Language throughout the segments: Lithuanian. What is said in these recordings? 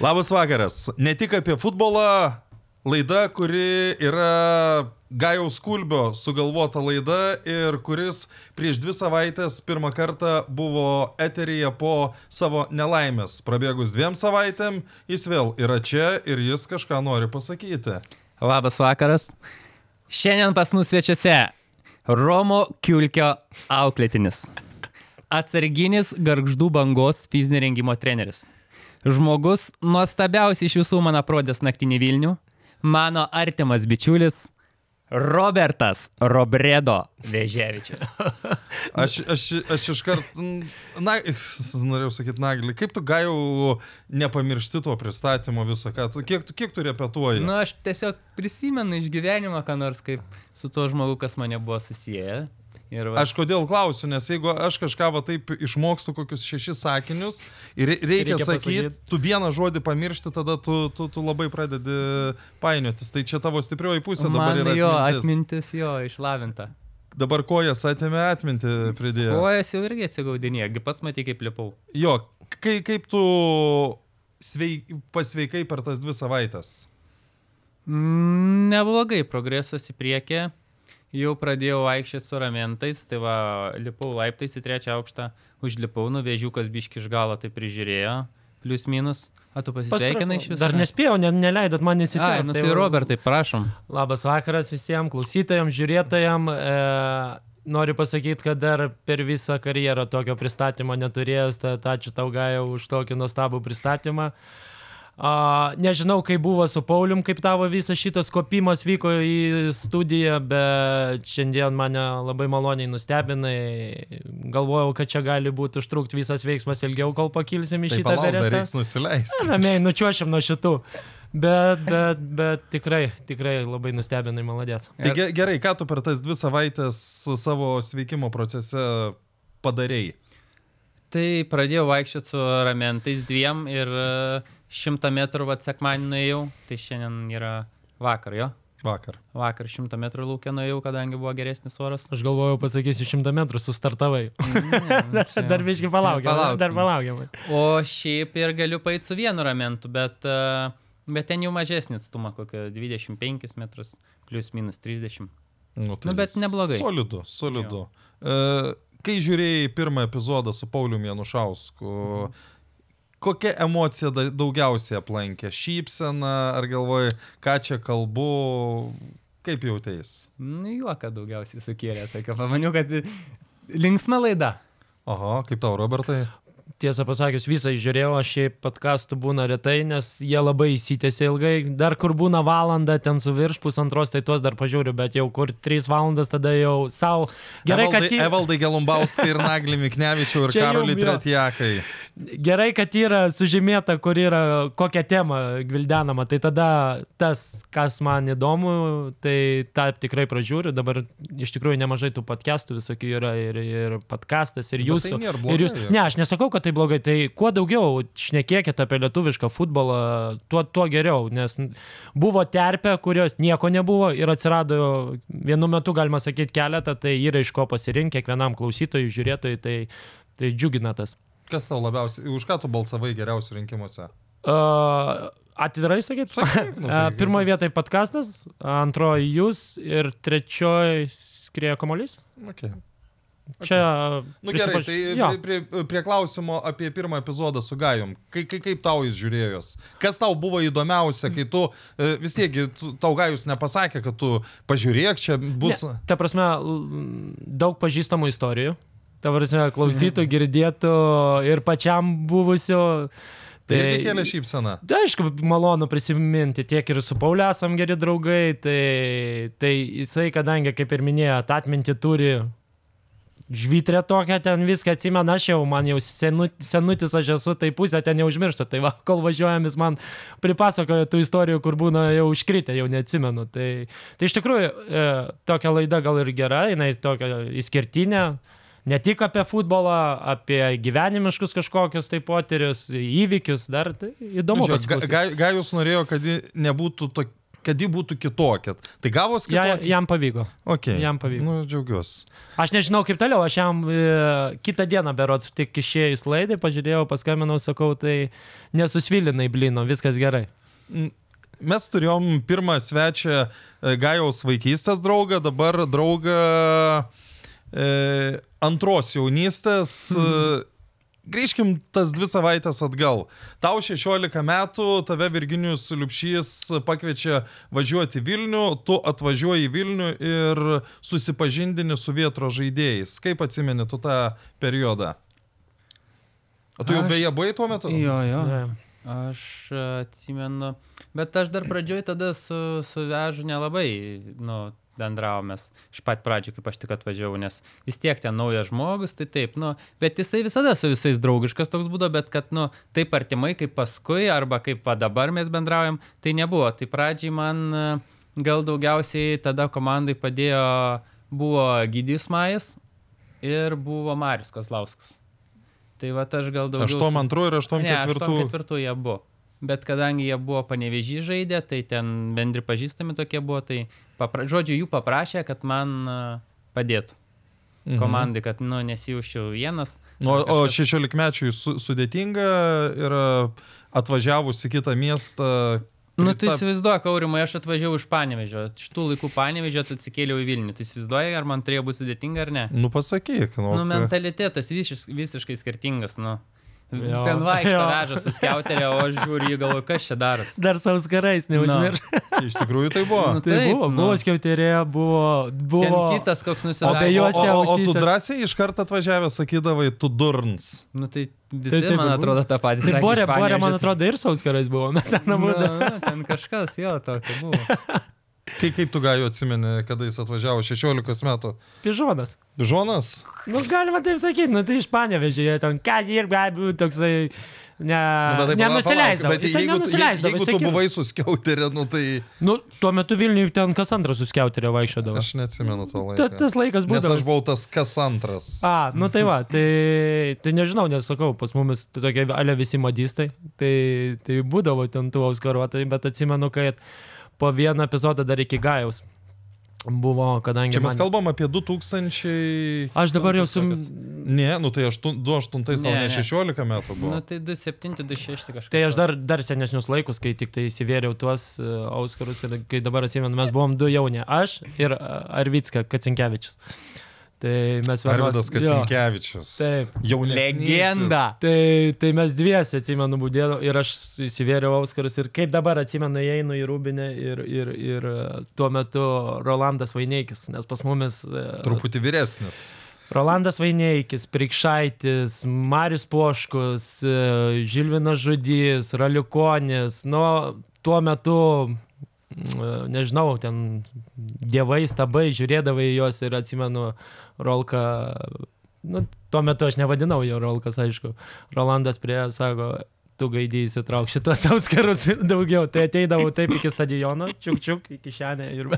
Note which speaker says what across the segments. Speaker 1: Labas vakaras. Ne tik apie futbolą. Laida, kuri yra Gajaus Kulbio sugalvota laida ir kuris prieš dvi savaitės pirmą kartą buvo eteryje po savo nelaimės. Prabėgus dviem savaitėm, jis vėl yra čia ir jis kažką nori pasakyti.
Speaker 2: Labas vakaras. Šiandien pas mus svečiuose Romo Kiulkio auklėtinis. Atsarginis garždų bangos fizinio rengimo treneris. Žmogus nuostabiausiai iš visų mano prodės naktinį Vilnių. Mano artimas bičiulis Robertas Robredo Veževičius.
Speaker 1: Aš, aš, aš iškart, n- na, norėjau sakyti, Naglį, kaip tu Gajau nepamiršti to pristatymo visą, ką tu, kiek, tu- kiek tu repetuoji?
Speaker 2: Na, Nu, aš tiesiog prisimenu iš gyvenimo, ką nors kaip su tuo žmogu, kas mane buvo susiję. Ir va,
Speaker 1: Aš kodėl klausiu, nes jeigu aš kažką va taip išmokstu kokius šešis sakinius ir rei- reikia, reikia
Speaker 3: Reikia
Speaker 1: sakyti,
Speaker 3: pasakyt.
Speaker 1: tu vieną žodį pamiršti, tada tu, tu, tu labai pradedi painiotis. Tai čia tavo stiprioji pusė dabar
Speaker 2: man
Speaker 1: yra
Speaker 2: jo
Speaker 1: atmintis.
Speaker 2: atmintis jo išlavinta.
Speaker 1: Dabar kojas atėmė atminti pridėjo.
Speaker 2: Kojas jau irgi atsigaudinėjo, gi pats matai, kaip lipau.
Speaker 1: Jo, kai, kaip tu sveik, pasveikai per tas dvi savaitės?
Speaker 2: Mm, Neblogai, progresas į priekį. Jau pradėjau vaikščioti su ramentais, tai va, lipau laiptais į trečią aukštą, užlipau, nuvėžiukas biški iš galo tai prižiūrėjo, plus minus. A tu pasisveikinai iš viso?
Speaker 3: Dar nespėjau, ne, neleidot
Speaker 2: Ai,
Speaker 3: man įsitikinti.
Speaker 2: nu tai Robertai, prašom.
Speaker 3: Labas vakaras visiems klausytojams, žiūrėtojams. E, noriu pasakyti, kad dar per visą karjerą tokio pristatymo neturėjęs. Tad ačiū tau, Gaja, už tokį nuostabų pristatymą. A, nežinau, kaip buvo su Paulium, kaip tavo visas šitas kopimas vyko į studiją, bet šiandien mane labai maloniai nustebinai. Galvojau, kad čia gali būti užtrukti visas veiksmas ilgiau, kol pakilsim į
Speaker 1: Tai
Speaker 3: šitą
Speaker 1: palauk, dar
Speaker 3: verestą.
Speaker 1: reiks nusileisti.
Speaker 3: Ramiai, nučiuošiam nuo šitų. Bet, bet, bet tikrai, tikrai labai nustebinai, maladės.
Speaker 1: Tai ge- gerai, ką tu per tas dvi savaitės su savo sveikimo procese padarėjai?
Speaker 2: Tai pradėjau vaikščioti su ramentais dviem ir e, šimtą metrų vat sekmanį nuėjau, tai šiandien yra vakar jo.
Speaker 1: Vakar.
Speaker 2: Vakar šimtą metrų laukia nuėjau, kadangi buvo geresnis oras.
Speaker 3: Aš galvojau, pasakysiu, šimtą metrų sustartavai. Dar viškai palaukiam. Dar palaukiam.
Speaker 2: O šiaip ir galiu paėti su vienu ramentu, bet, a, bet ten jau mažesnį atstumą, kokio 25 metrus, plus minus 30.
Speaker 1: Nu,
Speaker 2: Nu, bet neblogai.
Speaker 1: Solidu, solidu. E, kai žiūrėjai pirmą epizodą su Pauliu Janušausku,
Speaker 2: Mhm.
Speaker 1: kokia emocija da- daugiausiai aplankė? Šypsena, ar galvojai, ką čia kalbu, kaip jautėjai?
Speaker 2: Nu, juoką daugiausiai sukėlė, tai ką pamaniau, kad linksma laida.
Speaker 1: Oho, kaip tau, Robertai?
Speaker 3: Tiesą pasakius, visą žiūrėjau, aš šiaip podcastų būna retai, nes jie labai įsitėsia ilgai. Dar kur būna valanda, ten su virš pusantros, tai tuos dar pažiūriu, bet jau kur trys valandas, tada jau savo. Gerai, kad...
Speaker 1: Evaldai,
Speaker 3: į-
Speaker 1: Evaldai Gelumbauskai ir Naglį Miknevičiau ir
Speaker 3: Čia jum,
Speaker 1: Karolį
Speaker 3: jo.
Speaker 1: Tretjakai.
Speaker 3: Gerai, kad yra sužymėta, kur yra kokia tema gvildenama, tai tada tas, kas man įdomu, tai tą tikrai pražiūriu. Dabar iš tikrųjų nemažai tų podcastų visokių yra ir, ir podcastas, ir
Speaker 1: Bet
Speaker 3: jūsų.
Speaker 1: tai nėra
Speaker 3: ir jūs...
Speaker 1: blogai.
Speaker 3: Ne, aš nesakau, kad tai blogai, tai kuo daugiau šnekėkite apie lietuvišką futbolą, tuo, tuo geriau, nes buvo terpė, kurios nieko nebuvo ir atsirado vienu metu, galima sakyti, keletą, tai yra iš ko pasirinkti kiekvienam klausytojui, žiūrėtojui, tai, tai džiugina tas.
Speaker 1: Kas tau labiausiai, už ką tu balsavai geriausių rinkimuose?
Speaker 3: A, Atvirai sakyt,
Speaker 1: Sakyk, nu, tai
Speaker 3: A, pirmoje vietoje podkastas, antroje jūs ir trečioje skrieja komolys.
Speaker 1: Okay.
Speaker 3: Čia.
Speaker 1: Nu gerai,
Speaker 3: prisipaž-
Speaker 1: tai
Speaker 3: Jo.
Speaker 1: prie, prie, prie klausimo apie pirmą epizodą su Gajum. Kai, kai, kaip tau jis žiūrėjos? Kas tau buvo įdomiausia, kai tu e, vis tiek gi tu- tau Gajus nepasakė, kad tu pažiūrėk, čia bus...
Speaker 3: Ne, ta prasme, l- daug pažįstamų istorijų. Ta prasme, klausytų, girdėtų ir pačiam buvusiu.
Speaker 1: Tai irgi kėlė šypseną.
Speaker 3: Tai aišku, malonu prisiminti, tiek ir su Pauliu esam geri draugai, tai, tai jisai, kadangi, kaip ir minėjot, atminti turi žvitrę tokią, ten viską atsimena, aš jau, man jau senu, senutis aš esu, tai pusę ten neužmiršta, tai va, kol važiuojam, jis man pripasakoja tų istorijų, kur būna jau užkritę, jau neatsimenu. Tai, tai iš tikrųjų, e, tokia laida gal ir gera, jinai tokia išskirtinė, ne tik apie futbolą, apie gyvenimiškus kažkokius tai potyrius, įvykius, dar tai įdomu.
Speaker 2: Nu,
Speaker 1: Žiūrėk,
Speaker 3: pasiklausyti.
Speaker 1: Ga- Ga- Gajus norėjo, kad ji nebūtų to, kad ji būtų kitokia. Tai gavos
Speaker 3: Ja,
Speaker 1: kitokia.
Speaker 3: jam pavyko.
Speaker 1: okay.
Speaker 3: jam pavyko.
Speaker 1: Nu, džiaugiuosi.
Speaker 3: Aš nežinau kaip toliau, aš jam e, kitą dieną berots tik išėjus laidai, pažiūrėjau, paskambinau, sakau, tai nesusvilinai blino, viskas gerai.
Speaker 1: Mes turėjom pirmą svečią e, Gajaus vaikystės draugą, dabar draugą e, antros jaunystės. E, Grįžkim tas dvi savaitės atgal. Tau 16 metų, tave Virginijus Liupšys pakviečia važiuoti į Vilnių, tu atvažiuoji į Vilnių ir susipažindini su vietro žaidėjais. Kaip atsimeni tu tą periodą? O tu jau
Speaker 2: Aš-
Speaker 1: beje buvai tuo metu?
Speaker 2: Jo, jo.
Speaker 3: E,
Speaker 2: Aš e, atsimenu, bet aš dar pradžioj tada su, su vežu nelabai, nu, bendravomės iš pat pradžių, kaip aš tik atvažiavau, nes vis tiek ten naujas žmogus, tai taip, nu, bet jisai visada su visais draugiškas toks būdo, bet kad, nu, taip artimai kaip paskui arba kaip va dabar mes bendraujam, tai nebuvo. Tai pradžiai man e, gal daugiausiai tada komandai padėjo buvo Gydys Majas ir buvo Marius Kazlauskas. Tai va aš gal daugiau... su-
Speaker 1: 82 ir 84.
Speaker 2: ketvirtų jie buvo. Bet kadangi jie buvo panevežį žaidę, tai ten bendri pažįstami tokie buvo, tai papra... žodžiu jų paprašė, kad man a, padėtų
Speaker 1: Mhm.
Speaker 2: komandai, kad nu, nesijaučiau vienas.
Speaker 1: Nu,
Speaker 2: Ar
Speaker 1: o
Speaker 2: kažkas-
Speaker 1: 16-mečiui su, sudėtinga yra atvažiavus į kitą miestą.
Speaker 2: Nu, tu
Speaker 1: prita-
Speaker 2: įsivaizduoji, Kaurimai, aš atvažiavau iš Panevežio. Iš tų laikų Panevežio tu atsikėliau į Vilnių. Tu įsivaizduoji, ar man turėjo būti sudėtinga ar ne?
Speaker 1: Nu, pasakyk, nu.
Speaker 2: Nu,
Speaker 1: ka-
Speaker 2: mentalitetas visiš, visiškai skirtingas, nu.
Speaker 3: Jo.
Speaker 2: Jo. Ten vaikšto
Speaker 3: Jo.
Speaker 2: vežas, suskiautelė, o aš žiūriu, jį galvoju, kas čia daras.
Speaker 3: Dar sauskarais neužmiršau.
Speaker 1: Iš tikrųjų tai buvo.
Speaker 2: Nu,
Speaker 3: Tai
Speaker 2: Taip,
Speaker 3: buvo,
Speaker 2: nu.
Speaker 3: buvo skiauterė, buvo...
Speaker 2: Ten
Speaker 3: buvo...
Speaker 2: kitas koks
Speaker 1: O,
Speaker 2: nusidavimas.
Speaker 1: o,
Speaker 3: abiejose
Speaker 1: o, o tu
Speaker 3: ausyse-
Speaker 1: drąsiai iš karto atvažiavęs sakydavai, tu durns.
Speaker 2: Nu tai visi,
Speaker 3: Tai
Speaker 2: tai,
Speaker 3: taip
Speaker 2: tai man
Speaker 3: ir
Speaker 2: atrodo, tą patį.
Speaker 3: Tai
Speaker 2: sakė
Speaker 3: borė,
Speaker 2: iš
Speaker 3: borė, man
Speaker 2: Panevėžio.
Speaker 3: atrodo, ir sauskarais buvo, mes ten
Speaker 2: Nu,
Speaker 3: būdame.
Speaker 2: nu, ten kažkas jo tokio buvo.
Speaker 1: Kai, kaip tu gaju atsimeni, kada jis atvažiavo 16 metų?
Speaker 3: Pižonas.
Speaker 1: Žonas?
Speaker 3: Nu, galima taip sakyti, nu tai iš panevežėjo, ten ką dirba, buvo toksai... Ne,
Speaker 1: Nu,
Speaker 3: nu,
Speaker 1: bet tai pala-
Speaker 3: nenusileisdavo.
Speaker 1: palauk, bet
Speaker 3: Jisai
Speaker 1: jeigu,
Speaker 3: nenusileisdavo.
Speaker 1: Jeigu, jeigu
Speaker 3: jisai
Speaker 1: tu
Speaker 3: kir-
Speaker 1: buvai suskiauterė, nu tai
Speaker 3: Nu, tuo metu Vilniuje ten kas antras suskiauterė vaikščiodavo.
Speaker 1: aš neatsimenu to laiko.
Speaker 3: Ta, tas laikas
Speaker 1: Nes
Speaker 3: būdavo.
Speaker 1: aš buvau tas kas antras.
Speaker 3: A, nu tai va, tai, tai nežinau, nes sakau, pas mumis tai tokie ale visi modistai, tai, tai būdavo ten tų auskaruotojai, bet atsimenu, kad po vieną epizodą dar iki Gajaus buvo, kadangi...
Speaker 1: Čia mes
Speaker 3: man-
Speaker 1: kalbam apie 2000.
Speaker 3: Aš dabar jau su...
Speaker 1: Ne, nu tai 28, tau
Speaker 2: Ne,
Speaker 1: ne
Speaker 2: ne.
Speaker 1: 16 metų buvo.
Speaker 2: Nu tai 27, 26 kažkas.
Speaker 3: Tai aš
Speaker 2: tokio.
Speaker 3: dar, dar senesnius laikus, kai tik tai įsivėriau tuos e, Auskarus ir kai dabar atsimenu, mes buvom du jauni, aš ir e, Arvicka Kacinkevičius. Tai mes
Speaker 1: Arvidas
Speaker 3: jo.
Speaker 1: Kacinkievičius.
Speaker 3: Taip.
Speaker 1: Jaunesnysis.
Speaker 2: Legenda.
Speaker 3: Tai, tai mes dviesi atsimenu būdėdavo ir aš įsivėriau Auskarus ir kaip dabar atsimenu, einu į Rūbinę ir, ir, ir e, tuo metu Rolandas Vaineikis, nes pas mumis... e,
Speaker 1: Truputį vyresnis.
Speaker 3: Rolandas Vaineikis, Prikšaitis, Marius Poškus, e, Žilvinas Žudys, Raliukonis, nu, tuo metu, mm, e, nežinau, ten dievai stabai žiūrėdavai į juos ir atsimenu Rolką, nu, tuo metu aš nevadinau jo Rolkas, aišku, Rolandas prie sako, tu gaidėjai įsitrauk šitos auskarus daugiau, tai ateidavau taip iki stadiono, čiuk čiuk, iki šiandien ir,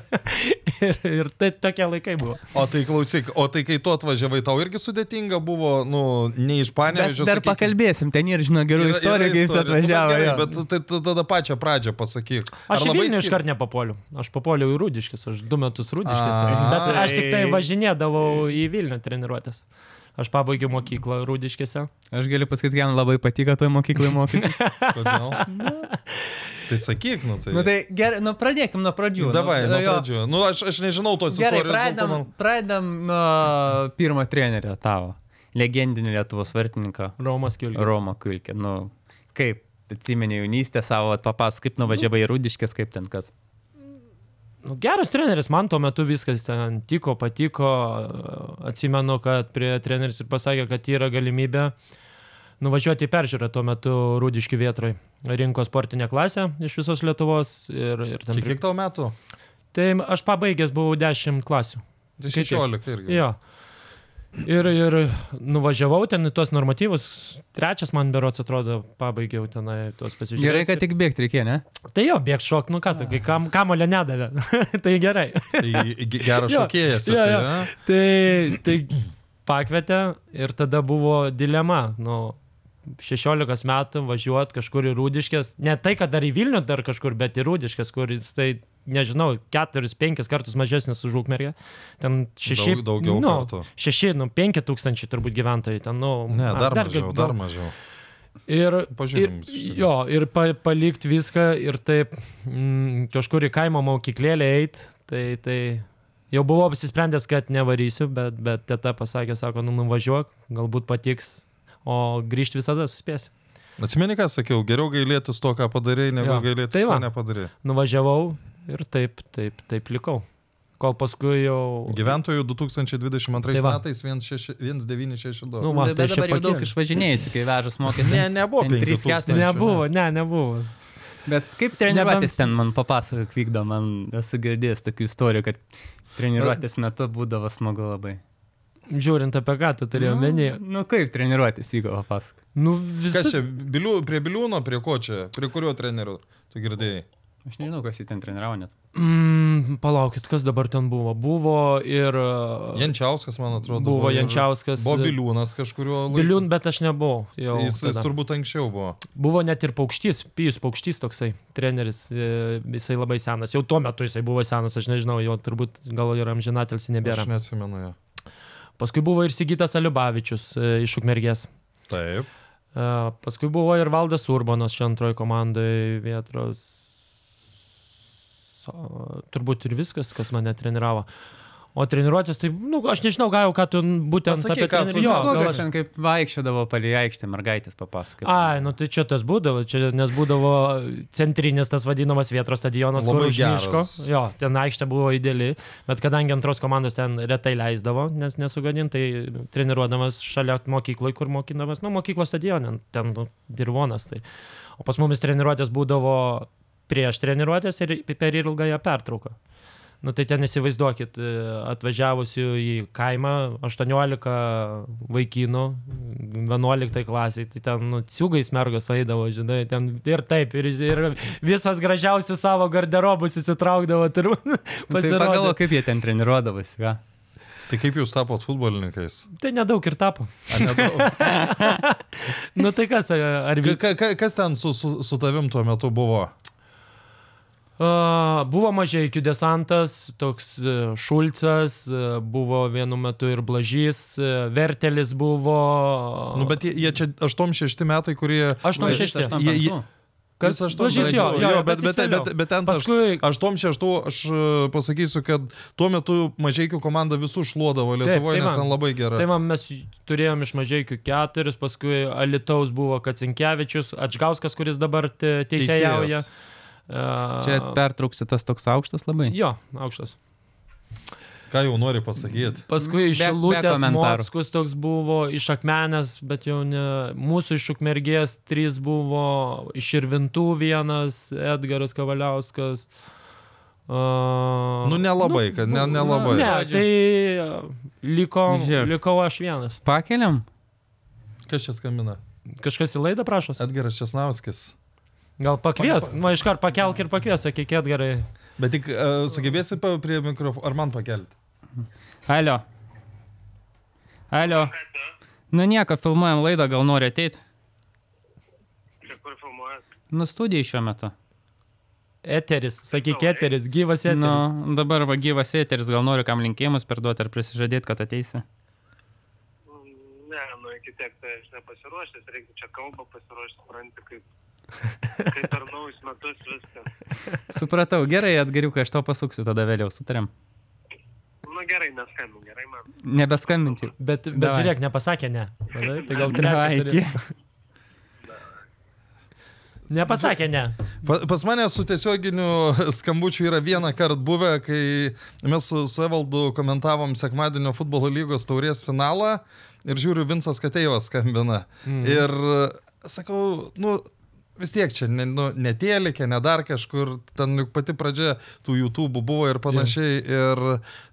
Speaker 3: ir, ir tai tokie laikai buvo.
Speaker 1: O tai klausyk, o tai kai tu atvažiavai, tau irgi sudėtinga buvo, nu, ne iš Panevežio.
Speaker 4: Dar
Speaker 1: sakykim.
Speaker 4: pakalbėsim, ten ir žino gerų
Speaker 1: Yra- yra
Speaker 4: istorijų, kai jis
Speaker 1: istorijų. Nu, bet
Speaker 4: atvažiavo.
Speaker 1: gerai,
Speaker 4: jo.
Speaker 1: Bet tai tu tada pačią pradžią pasakyk.
Speaker 3: Aš į Vilnių
Speaker 1: skir-
Speaker 3: iškart nepapuoliu. Aš papuoliau į Rūdiškis, aš du metus Rūdiškis.
Speaker 1: A,
Speaker 3: Bet aš tik tai
Speaker 4: tai-
Speaker 3: važinėdavau į Vilnių treniruotės. Aš pabaigiau mokyklą Rūdiškėse.
Speaker 4: Aš galiu pasakyti, jam labai patiko toj mokyklai mokytis.
Speaker 1: Kodėl? tai sakyk, nu tai.
Speaker 2: Nu tai gerai, nu pradėkim nuo pradžių.
Speaker 1: Davai,
Speaker 2: nu,
Speaker 1: nuo
Speaker 2: jo.
Speaker 1: pradžių. Nu, aš, aš nežinau tos
Speaker 2: Gerai,
Speaker 1: istorijos. dėl to
Speaker 2: pradedam,
Speaker 1: man-
Speaker 2: pradedam nuo pirmo trenerio tavo. Legendinio Lietuvos vartininko
Speaker 3: Romas Kilgis.
Speaker 2: Romo Kulkė. Nu, kaip atsimeni jaunystę savo, papas, kaip nuvažiavai į Rūdiškės, kaip ten kas.
Speaker 3: Nu, geras treneris, man tuo metu viskas ten tiko, patiko. Atsimenu, kad prie treneris ir pasakė, kad yra galimybė nuvažiuoti į peržiūrą tuo metu Rūdiškių vietoj. Rinko sportinę klasę iš visos Lietuvos. Ir, ir ten...
Speaker 1: Čia kiek tau metų?
Speaker 3: Tai aš pabaigęs buvau 10 klasių.
Speaker 1: Tai
Speaker 3: Kai tiek.
Speaker 1: 16 irgi.
Speaker 3: Jo. Ir, ir nuvažiavau ten į tuos normatyvus, trečias man berots atrodo, pabaigiau tenai tuos pasižiūrėti.
Speaker 4: Gerai, kad tik bėgti reikėjo, ne?
Speaker 3: Tai jo, bėg šok, nu ką, tu, kai kam, kamolio nedavė. tai gerai.
Speaker 1: Tai ge- geras
Speaker 3: Jo,
Speaker 1: šokėjas.
Speaker 3: jo,
Speaker 1: esi,
Speaker 3: jo.
Speaker 1: ne?
Speaker 3: tai, tai pakvietė ir tada buvo dilema, nu, 16 metų važiuot kažkur į Rūdiškės, ne tai, kad dar į Vilnių dar kažkur, bet į Rūdiškės, kur jis tai nežinau, keturis, penkis kartus mažesnis už Ukmergę. Ten šeši.
Speaker 1: Daug- daugiau
Speaker 3: nu,
Speaker 1: kartų.
Speaker 3: Šeši, nu, penki tūkstančiai turbūt gyventojai ten, nu.
Speaker 1: Ne,
Speaker 3: ar
Speaker 1: dar
Speaker 3: ga-
Speaker 1: mažiau,
Speaker 3: gal-
Speaker 1: dar mažiau.
Speaker 3: Ir,
Speaker 1: Pažiūrim,
Speaker 3: ir, jo, ir pa, palikti viską ir taip mm, kažkur į kaimo mokyklėlę eiti, tai, tai jau buvau apsisprendęs, kad nevarysiu, bet, bet teta pasakė, sako, nu nuvažiuok, galbūt patiks, o grįžti visada suspėsi.
Speaker 1: Atsimeni, ką sakiau, geriau gailėtis to, ką padarai, negu
Speaker 3: Jo,
Speaker 1: gailėtis
Speaker 3: tai
Speaker 1: to,
Speaker 3: va.
Speaker 1: ką nepadarai.
Speaker 3: Nuvažiavau ir taip, taip, taip likau. Kol paskui jau...
Speaker 1: Gyventojų 2022
Speaker 3: Tai va.
Speaker 1: metais 1962.
Speaker 3: Nu,
Speaker 1: Nu,
Speaker 3: va,
Speaker 5: Bet
Speaker 3: tai aš čia
Speaker 5: dabar jau daug
Speaker 3: pakėliau.
Speaker 5: išvažinėjusi, kai vežas mokėsi.
Speaker 1: ne, nebuvo
Speaker 5: ten
Speaker 1: 5
Speaker 5: trys, keturis.
Speaker 3: Nebuvo, ne, nebuvo.
Speaker 2: Bet kaip treniruotės ten man papasakok vykdo, man esu girdėjęs tokių istorijų, kad treniruotės metu būdavo smagu labai.
Speaker 3: Žiūrint apie ką tu turėjai omeny.
Speaker 2: Nu kaip treniruotės vyko, papasakok.
Speaker 3: Nu,
Speaker 1: Kas
Speaker 3: viskas.
Speaker 1: čia, bilių, prie biliūno, prie ko čia, prie kurio trenerių tu girdėjai?
Speaker 2: Aš nežinau, kas jį ten treniravo net.
Speaker 3: Mm, palaukit, kas dabar ten buvo? Buvo ir... uh,
Speaker 1: Jančiauskas, man atrodo.
Speaker 3: Buvo
Speaker 1: ir-
Speaker 3: Jančiauskas.
Speaker 1: Buvo biliūnas kažkurio laiku.
Speaker 3: Biliūn, bet aš nebuvau. Jau,
Speaker 1: Jis, jis
Speaker 3: tada.
Speaker 1: turbūt anksčiau buvo.
Speaker 3: Buvo net ir paukštys, Pijus paukštys toksai, treneris, e, jisai labai senas, jau tuo metu jisai buvo senas, aš nežinau, jo turbūt gal ir amžinatelsi nebėra.
Speaker 1: Aš neatsimenu jo.
Speaker 3: Paskui buvo ir Sigitas Aliubavičius e, iš Ukmergės.
Speaker 1: Taip.
Speaker 3: E, Paskui buvo ir Valdas Urbanas čia antroji komandai vietos. O, Turbūt ir viskas, kas mane treniravo. O treniruotės, tai, na, nu, aš nežinau, gal jau ką tu būtent
Speaker 1: Pasakyk, ką tu
Speaker 3: trenir- Jo,
Speaker 1: ten-
Speaker 3: gal
Speaker 2: Blogas
Speaker 3: aš-
Speaker 2: ten kaip vaikščiodavo palei aikštę, mergaitės papasakok.
Speaker 3: Ai, nu tai čia tas būdavo, čia, nes būdavo centrinis tas vadinamas vietos stadionas, kur
Speaker 1: Labai
Speaker 3: už miško.
Speaker 1: geras.
Speaker 3: Jo, ten aikštė buvo ideali, bet kadangi antros komandos ten retai leisdavo, nes nesugadint, tai treniruodamas šalia mokykloje, kur mokindamas, nu mokyklos stadione, ten nu, dirvonas. Tai. O pas mumis treniruotės būdavo prieš treniruotės ir per ilgąją pertrauką. Nu tai ten įsivaizduokit, e, atvažiavusių į kaimą 18 vaikinų, 11 klasiai, tai ten nu, ciugais mergos eidavo, žinai, ten ir taip, ir, ir visos gražiausios savo garderobus įsitraukdavo, turiu
Speaker 2: tai
Speaker 3: pasirodyti.
Speaker 2: pagalvo, kaip jie ten treniruodavosi. Ką?
Speaker 1: Tai kaip jūs tapot futbolininkais?
Speaker 3: Tai, tai nedaug ir tapo.
Speaker 1: A, nedaug.
Speaker 3: Nu tai kas, e, ar
Speaker 1: Ka-
Speaker 3: vyko?
Speaker 1: ka- ka- Kas ten su, su, su tavim tuo metu buvo?
Speaker 3: Uh, buvo mažai iki desantas, toks e, Šulcas, e, buvo vienu metu ir Blažys, e, Vertelis buvo.
Speaker 1: Nu, bet jie, jie čia 8-6 metai, kurie...
Speaker 3: Aštuom šešti.
Speaker 2: Aštuom
Speaker 1: Jie- jie-
Speaker 2: penktų.
Speaker 3: Kas?
Speaker 1: Jis aštuom-
Speaker 3: Blažys, jo, jo,
Speaker 1: jo
Speaker 3: bet
Speaker 1: bet,
Speaker 3: jis
Speaker 1: bet,
Speaker 3: vėliau.
Speaker 1: bet, bet ten paskui...
Speaker 3: Paskui
Speaker 1: Aš tom šeštu, aš e, pasakysiu, kad tuo metu mažiekių komanda visų šluodavo Lietuvoje,
Speaker 3: tai
Speaker 1: nes
Speaker 3: man.
Speaker 1: ten labai gerai.
Speaker 3: Tai man mes turėjom iš mažiekių keturis, paskui Alitaus buvo Kacinkievičius, Atžgauskas, kuris dabar te- teisėjauja. Uh,
Speaker 2: Čia pertrauksiu tas toks aukštas labai.
Speaker 3: Jo, aukštas.
Speaker 1: Ką jau nori pasakyti?
Speaker 3: Paskui iš
Speaker 2: Mm, Be- be
Speaker 3: Lūtės
Speaker 2: komentarų.
Speaker 3: Motskus toks buvo, iš Akmenės, bet jau ne. Mūsų iš Ukmergės trys buvo, iš Irvintų vienas, Edgaras Kavaliauskas. Uh,
Speaker 1: Nu, nelabai, kad ne, nelabai.
Speaker 3: Ne, tai liko,
Speaker 2: Žiūrėk.
Speaker 3: likau aš vienas.
Speaker 2: Pakeliam?
Speaker 1: Kas čia skambina?
Speaker 3: Kažkas į laidą prašos?
Speaker 1: Edgaras Česnauskis.
Speaker 3: Gal pakviesk, nu iškart pakelk ir pakviesk, sakyk, Edgarai.
Speaker 1: Bet tik uh, sugebėsi pa- prie mikrofono, ar man pakelti?
Speaker 2: Alio. Alio. Nu nieko, filmuojam laidą, gal nori ateiti?
Speaker 6: Čia kur filmuojas?
Speaker 2: Nu studijai šiuo metu.
Speaker 3: Eteris, sakyk, eteris, gyvas eteris. No.
Speaker 2: Nu, dabar va gyvas eteris, gal noriu kam linkėjimus perduoti ar prisižadėti, kad ateisi.
Speaker 6: Ne, nu iki tiek tai aš nepasiruošęs, reikia čia kalbą pasiruošti, supranti, kaip, kaip per naujus metus viskas.
Speaker 2: Supratau, gerai, atgariukai, aš to pasuksiu tada vėliau, sutarėm.
Speaker 6: Na Nu, gerai, neskambink, gerai man.
Speaker 2: Nebeskambinti.
Speaker 3: Bet, bet
Speaker 2: Davai.
Speaker 3: žiūrėk, nepasakė ne. Vadai, tai gal
Speaker 2: Davai,
Speaker 3: trečią. turi-
Speaker 2: iki.
Speaker 3: Nepasakė ne.
Speaker 1: Pa, pas mane su tiesioginiu skambučiu yra vieną kartą buvę, kai mes su, su Evaldu komentavom sekmadienio futbolo lygos taurės finalą ir žiūriu, Vinsas Kateivas skambina.
Speaker 3: Mm.
Speaker 1: Mhm. Ir e, sakau, nu, vis tiek čia, ne, nu, netėlikė, ne dar kažkur, ten juk pati pradžia tų YouTube buvo ir panašiai. Ir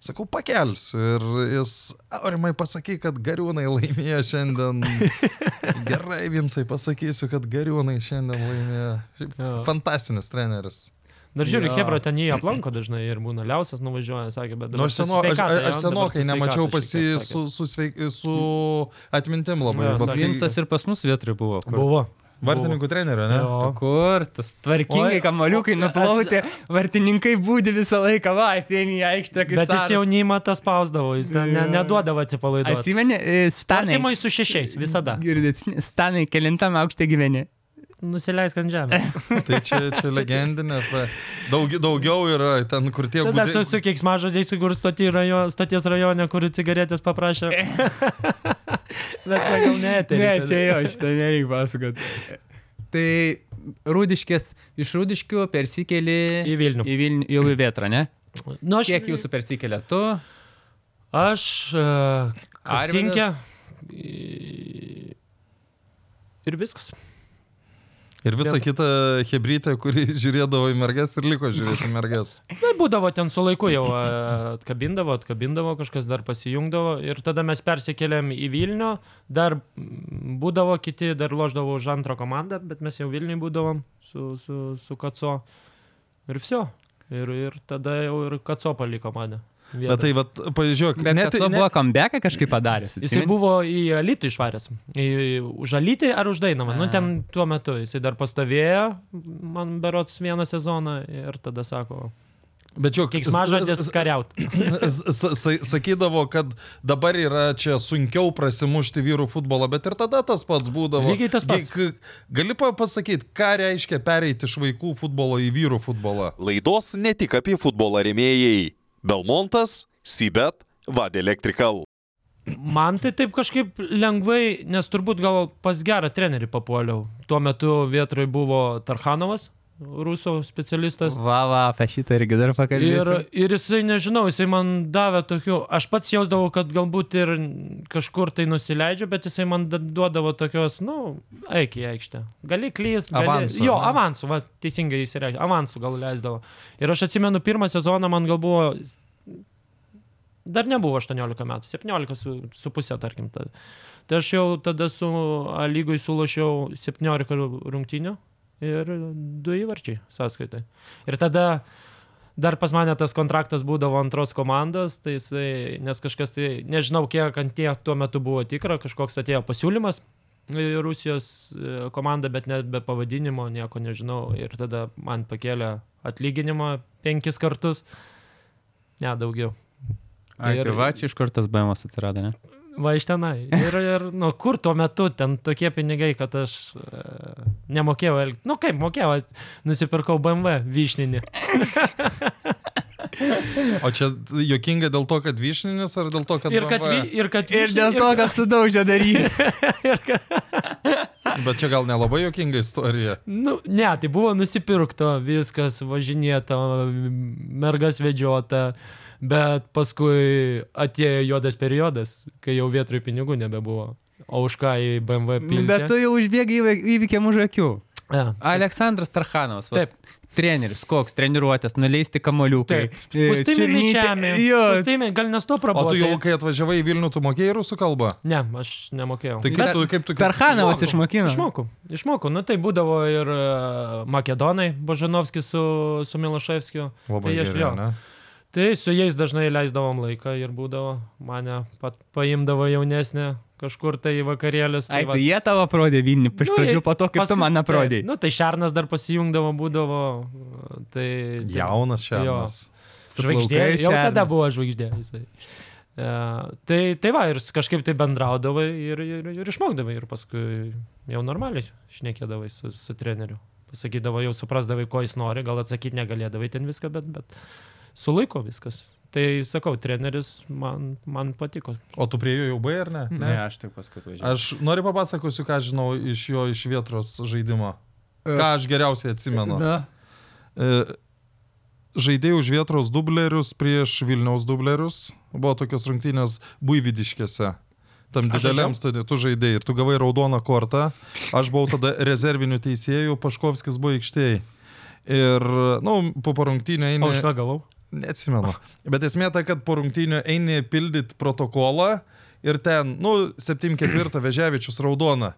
Speaker 1: sakau, pakelsiu. Ir jis, aurimai pasakyk, kad gariūnai laimėjo šiandien. Gerai, Vinsai, pasakysiu, kad gariūnai šiandien laimėjo. Šiaip
Speaker 3: Jo.
Speaker 1: Fantastinis treneris.
Speaker 3: Dar žiūrėk,
Speaker 2: Jo.
Speaker 3: Hebra ten jį aplanko dažnai ir būna liausas nuvažiuoja, sakė, bet...
Speaker 1: Nu,
Speaker 3: dabar
Speaker 1: aš,
Speaker 3: su
Speaker 1: seno, aš,
Speaker 3: sveikata,
Speaker 1: aš
Speaker 3: jo, dabar su
Speaker 1: senokai
Speaker 3: sveikata
Speaker 1: nemačiau
Speaker 3: šiek
Speaker 1: pas
Speaker 3: tiek,
Speaker 1: jį
Speaker 3: sakė. Mm.
Speaker 1: su, su, sveik, su atmintim labai.
Speaker 3: Jo,
Speaker 1: bet
Speaker 3: sakė.
Speaker 1: kai-
Speaker 2: Vincas ir pas mus vietri buvo. kur-
Speaker 3: Buvo.
Speaker 1: Vartininkų trenerių, ne?
Speaker 3: Jo.
Speaker 2: O kur, tas tvarkingai
Speaker 3: Oi,
Speaker 2: kamaliukai
Speaker 3: o-
Speaker 2: nuplauti, vartininkai būdi visą laiką, va, ateini į aikštę, kaip
Speaker 3: Bet jis jaunimą tas spausdavo, jis ten ne, neduodavo atsipalaiduoti.
Speaker 2: Atsimeni, e, stanai.
Speaker 3: Tartimai su šešiais, visada.
Speaker 2: Girdit, stanai, kelintam aukšte gyveni.
Speaker 3: Nusileisk ant žemės.
Speaker 1: Tai čia, čia legendinė. ta- Daug, daugiau yra ten, kur tie
Speaker 3: Tada su,
Speaker 1: gudri-
Speaker 3: su kiek mažodžiais, kur stoti rajo, stoties rajone, kur cigaretės paprašė. Bet čia gal ne, tai.
Speaker 2: Ne, čia jo, šitą nereikia pasakoti. Tai rūdiškės, iš rūdiškių persikėlė
Speaker 3: Į Vilnių.
Speaker 2: Į Vilnių, jau į vietrą, ne?
Speaker 3: Nu, aš,
Speaker 2: Kiek jūsų persikėlė tu?
Speaker 3: Aš. e,
Speaker 2: Arvydas?
Speaker 3: Arvinkė. Ir viskas.
Speaker 1: Ir visa kita hebrytė, kuri žiūrėdavo į mergas ir liko žiūrėti į mergas.
Speaker 3: Na, būdavo ten su laiku jau a, atkabindavo, atkabindavo, kažkas dar pasijungdavo ir tada mes persikėlėm į Vilnių, dar mm, būdavo kiti, dar loždavo už antrą komandą, bet mes jau Vilniui būdavom su, su, su Kaco ir viso. Ir, ir tada jau ir Kaco paliko mane. vietą.
Speaker 1: Bet tai, vat, pažiūrėk,
Speaker 2: Bet
Speaker 1: net
Speaker 2: net tu buvo comebacką kažkaip padaręs.
Speaker 3: Jisai buvo į Alitį išvaręs. Į Žalytį ar uždainamą. Nu,
Speaker 2: A.
Speaker 3: ten tuo metu jisai dar pastovėjo, man berots vieną sezoną ir tada sako,
Speaker 1: bet žiūrėk,
Speaker 3: kiek mažodės kariaut.
Speaker 1: s- s- sa- sakydavo, kad dabar yra čia sunkiau prasimušti vyrų futbolą, bet ir tada tas pats būdavo.
Speaker 3: Lygiai tas pats.
Speaker 1: Gi- k- Gali pa- pasakyti, ką reiškia pereiti iš vaikų futbolo į vyrų futbolą?
Speaker 7: Laidos ne tik apie futbolą remėjai. Belmontas, Sibet, Vad Electrical.
Speaker 3: Man tai taip kažkaip lengvai, nes turbūt gal pas gerą trenerį papuoliau. Tuo metu vietoj buvo Tarhanovas, rusų specialistas.
Speaker 2: Va, va, apie šitą irgi dar
Speaker 3: Ir,
Speaker 2: pakalbėsiu.
Speaker 3: ir jisai, nežinau, jisai man davė tokių, aš pats jausdavau, kad galbūt ir kažkur tai nusileidžiu, bet jisai man da- duodavo tokios, nu, eik į aikštę. Gali klys, gali...
Speaker 1: Avansu,
Speaker 3: Jo,
Speaker 1: ne?
Speaker 3: avansų, va, teisingai jis reiškia, avansų gal leisdavo. Ir aš atsimenu, pirmą sezoną man gal buvo, dar nebuvo 18 metų, 17 su, su pusė, tarkim. Ta. Tai aš jau tada su A lygui sulošiau 17 rungtinių ir du įvarčiai sąskaitai. Ir tada Dar pas mane tas kontraktas būdavo antros komandos, tai jisai, nes kažkas tai, nežinau, kiek ant tiek tuo metu buvo tikra, kažkoks atėjo pasiūlymas į Rusijos e, komandą, bet net be pavadinimo, nieko nežinau. Ir tada man pakėlė atlyginimą penkis kartus, ne daugiau.
Speaker 2: Ai,
Speaker 3: ir-
Speaker 2: tai va, čia iš kur tas baimas atsirado, ne?
Speaker 3: Va iš tenai. Ir, ir nu, kur tuo metu ten tokie pinigai, kad aš e, nemokėjau elgtis. Nu kaip mokėjau, nusipirkau BMW vyšninį.
Speaker 1: O čia jokinga dėl to, kad vyšninis ar dėl to, kad...
Speaker 3: Ir kad,
Speaker 1: BMW?
Speaker 3: vy- ir kad
Speaker 2: Ir
Speaker 3: vyšni-
Speaker 2: dėl to, kad sudaužė daryti.
Speaker 1: Bet čia gal nelabai jokinga istorija.
Speaker 3: Nu, ne, tai buvo nusipirkto, viskas važinėta, mergas vedžiota, bet paskui atėjo juodas periodas, kai jau vietoj pinigų nebebuvo. O už ką į BMW pilną?
Speaker 2: Bet tu jau užbėgai įvai- įvykiam už akių.
Speaker 3: Ja.
Speaker 2: Aleksandras Tarhanovas. va,
Speaker 3: Taip.
Speaker 2: Treneris, koks treniruotės, nuleisti kamoliukai.
Speaker 1: e,
Speaker 3: Taip, pustimi myčiami.
Speaker 2: Jo,
Speaker 3: Pustimi, gal nes to
Speaker 1: O tu jau,
Speaker 3: prabuvo. Tai...
Speaker 1: kai atvažiavai į Vilnių, tu mokėjai rusų kalbą?
Speaker 3: Ne, aš nemokėjau.
Speaker 1: Tai kaip
Speaker 2: Bet
Speaker 1: tu... Kaip tu kaip...
Speaker 2: Tarhanovas išmokino.
Speaker 3: Išmokau, išmokau. Nu tai būdavo ir e, Makedonai, Božanovskis su, su Miloševskiu.
Speaker 1: Labai
Speaker 3: tai aš-
Speaker 1: gerai,
Speaker 3: jo.
Speaker 1: ne?
Speaker 3: Tai su jais dažnai leisdavom laiką ir būdavo, mane pat paimdavo jaunesnė kažkur tai į vakarėlius.
Speaker 2: Ai,
Speaker 3: va-
Speaker 2: tai jie tavo prodė Vilnių, iš
Speaker 3: Nu,
Speaker 2: pradžių
Speaker 3: jie-
Speaker 2: po to, kaip tu
Speaker 3: paskui-
Speaker 2: man aprodė.
Speaker 3: taip, Nu, tai Šarnas dar pasijungdavo, būdavo. Tai, tai
Speaker 1: Jaunas šiandien.
Speaker 3: žvaigždė.
Speaker 2: plaukais
Speaker 3: Jau tada
Speaker 2: Šernas.
Speaker 3: buvo žvaigždė jisai. E, tai, tai va, ir s- kažkaip tai bendraudavai ir, ir, ir išmokdavai ir paskui jau normaliai šnekėdavai su, su treneriu. Pasakydavo, jau suprasdavai, ko jis nori, gal atsakyti negalėdavai ten viską, bet, bet sulaiko viskas. Tai sakau, treneris man, man patiko.
Speaker 1: O tu prie jo jau buvai, ar ne?
Speaker 2: aš tik paskui važiuoju.
Speaker 1: Aš noriu papasakosiu, ką žinau iš jo iš vietros žaidimo. Ką aš geriausiai atsimenu.
Speaker 2: Na,
Speaker 1: E, Žaidėjai už vietros dublerius prieš Vilniaus dublerius. Buvo tokios rungtynės buividiškėse. Tam dideliam studijui tu žaidėjai ir tu gavai raudoną kortą. Aš buvau tada rezerviniu teisėju, Paškovskis buvo aikštėje. Ir, na, nu, po parungtynio
Speaker 3: O
Speaker 1: eini...
Speaker 3: už ką gavau?
Speaker 1: Neatsimenu. Bet esmė ta, kad po rungtynių eini pildyti protokolą ir ten, nu, 7-4 Veževičius raudona.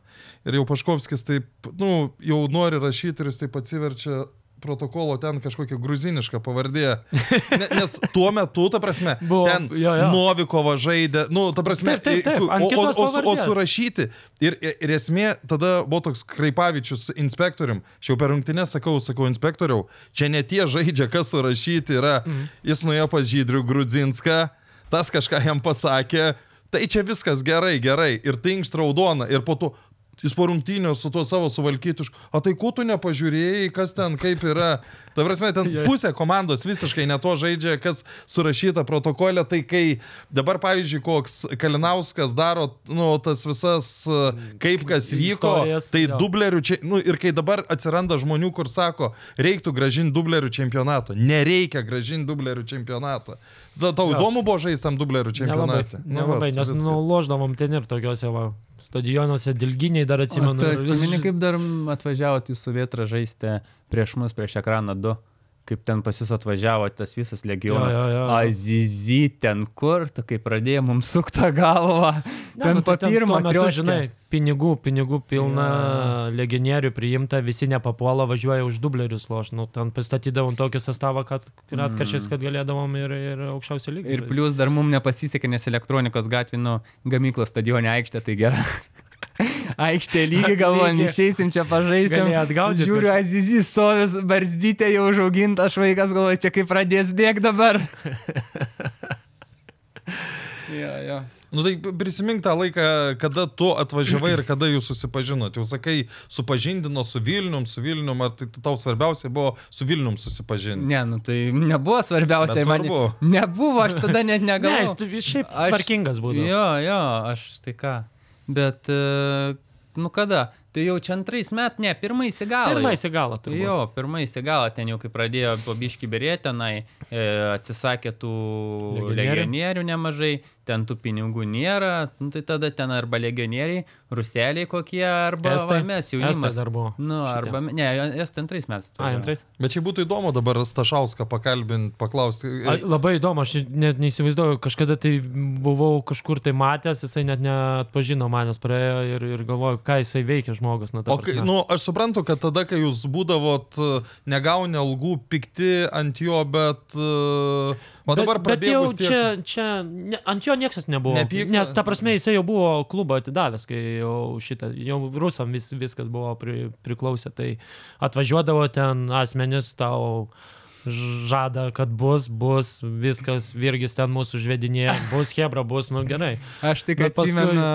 Speaker 1: Ir jau Paškovskis taip, nu, jau nori rašyti ir jis taip atsiverčia protokolo ten kažkokia gruziniška pavardė. Ne, nes tuo metu, ta prasme,
Speaker 3: Buvo,
Speaker 1: ten
Speaker 3: jo, jo.
Speaker 1: Novikova žaidė, nu, ta prasme,
Speaker 3: Taip, taip, taip,
Speaker 1: i-
Speaker 3: ant
Speaker 1: o, o,
Speaker 3: kitos
Speaker 1: o, su- o
Speaker 3: pavardės.
Speaker 1: surašyti. Ir, ir esmė, tada buvo toks Kraipavičius inspektorium, aš jau per rungtinę sakau, sakau inspektoriau, čia ne tie žaidžia, kas surašyti yra. Mm. Jis nuėjo pas Žydrių Grudzinską, tas kažką jam pasakė, tai čia viskas gerai, gerai, ir tinkšt raudona, ir po to Jis po rungtynio su tuo savo suvalkytišku. O tai kuo tu nepažiūrėjai, kas ten kaip yra? Ta prasme, ten
Speaker 3: Jo.
Speaker 1: pusė komandos visiškai ne to žaidžia, kas surašyta protokole. Tai kai dabar, pavyzdžiui, koks Kalinauskas daro, nu, tas visas, e, kaip kas vyko,
Speaker 3: Istorijas,
Speaker 1: tai
Speaker 3: jo.
Speaker 1: dublerių čia, nu, ir kai dabar atsiranda žmonių, kur sako, reiktų gražinti dublerių čempionato. Nereikia gražinti dublerių čempionato. Ta- Tau
Speaker 3: Jo.
Speaker 1: įdomu buvo žaisti tam dublerių
Speaker 3: Nelabai,
Speaker 1: čempionate. Nu,
Speaker 3: nelabai,
Speaker 1: vat,
Speaker 3: nes
Speaker 1: viskas.
Speaker 3: nuloždavom ten ir tokiuose va, stadionuose, dilginiai dar
Speaker 2: Atsimenu,
Speaker 3: atsimenu.
Speaker 1: tai
Speaker 2: tu
Speaker 3: ir vis-
Speaker 2: atsimeni, kaip dar atvažiavot jūsų vietrą žaisti prieš mus, prieš ekraną 2, kaip ten pas jūs atvažiavo tas visas legionas.
Speaker 3: Jo, jo, jo, jo.
Speaker 2: Azizi ten kur, ta, kai pradėjo mums suktą galvą.
Speaker 3: Ne,
Speaker 2: Ten
Speaker 3: nu,
Speaker 2: po
Speaker 3: tai
Speaker 2: pirmo,
Speaker 3: tuo metu,
Speaker 2: trioškė.
Speaker 3: žinai, pinigų, pinigų pilna, legionierių priimta, visi nepapuola, važiuoja už dublerius loš. Nu, ten pastatydavom tokį sastavą, kad atkarčiais,
Speaker 2: Mm.
Speaker 3: kad galėdavom ir, ir aukščiausią lygį.
Speaker 2: Ir
Speaker 3: žaist.
Speaker 2: plus dar mums nepasisekė, nes elektronikos gatvino gamyklos stadionė aikštė, tai gera. Aikštė lygi, galvojam,
Speaker 3: Lygi.
Speaker 2: išeisim čia pažaisim.
Speaker 3: Galėjai atgaudyt
Speaker 2: Žiūriu, Azizi stovis, barzdytė jau užaugintas vaikas, galvoju, čia kaip pradės bėgti dabar. ja, ja.
Speaker 1: Nu tai prisimink tą laiką, kada tu atvažiavai ir kada jūs susipažinot. Jau sakai, supažindino su Vilnium, su Vilnium, ar tai tau svarbiausia buvo su Vilnium susipažinti?
Speaker 2: Ne, nu tai nebuvo svarbiausia,
Speaker 1: Bet
Speaker 2: man
Speaker 1: svarbu.
Speaker 2: nebuvo, aš tada net
Speaker 3: Ne,
Speaker 2: negalėjau.
Speaker 3: jis, tu- jis šiaip aš... tvarkingas būdavo.
Speaker 2: Jo, jo, aš tai ką. Bet, e, nu kada? Tai jau čia antrais metais, ne, pirmais įgalo.
Speaker 3: Pirmais į galą, tai
Speaker 2: Jo, pirmais įgalo ten jau, kai pradėjo bobiški berėti, tenai e, atsisakė tų
Speaker 3: Legionierių.
Speaker 2: legionierių nemažai, ten tų pinigų nėra, nu, tai tada ten arba legionieriai, ruseliai kokie, arba va, mes
Speaker 3: Estas
Speaker 2: jaunimas.
Speaker 3: dar buvo.
Speaker 2: Nu, arba, me- ne, es ten antrais metais.
Speaker 3: A,
Speaker 2: atvažiavo.
Speaker 3: antrais.
Speaker 1: Bet čia būtų įdomu dabar Stašauską pakalbinti, paklausti.
Speaker 3: A, labai įdomu, aš net neįsivaizduoju, kažkada tai buvau kažkur tai matęs, jisai net neatpažino manęs, praėjo ir, ir galvoju, ką jisai veikia žmogus. Na, ta
Speaker 1: O kai,
Speaker 3: prasme.
Speaker 1: nu, aš suprantu, kad tada, kai jūs būdavot, e, negauni algų, pikti ant jo, bet... e, O
Speaker 3: Bet-
Speaker 1: dabar
Speaker 3: bet jau
Speaker 1: pradėjau...
Speaker 3: čia, čia ne, ant jo niekas nebuvo.
Speaker 1: Nepykta?
Speaker 3: Nes, ta prasme, jisai jau buvo klubą atidavęs, kai jau šitą, jau rusam vis, viskas buvo pri, priklausę. Tai atvažiuodavo ten asmenis, tau žada, kad bus, bus, viskas, virgis ten mūsų žvedinėje, bus hebra, bus, nu gerai.
Speaker 2: Aš tik
Speaker 3: Bet paskui-
Speaker 2: atsimenu,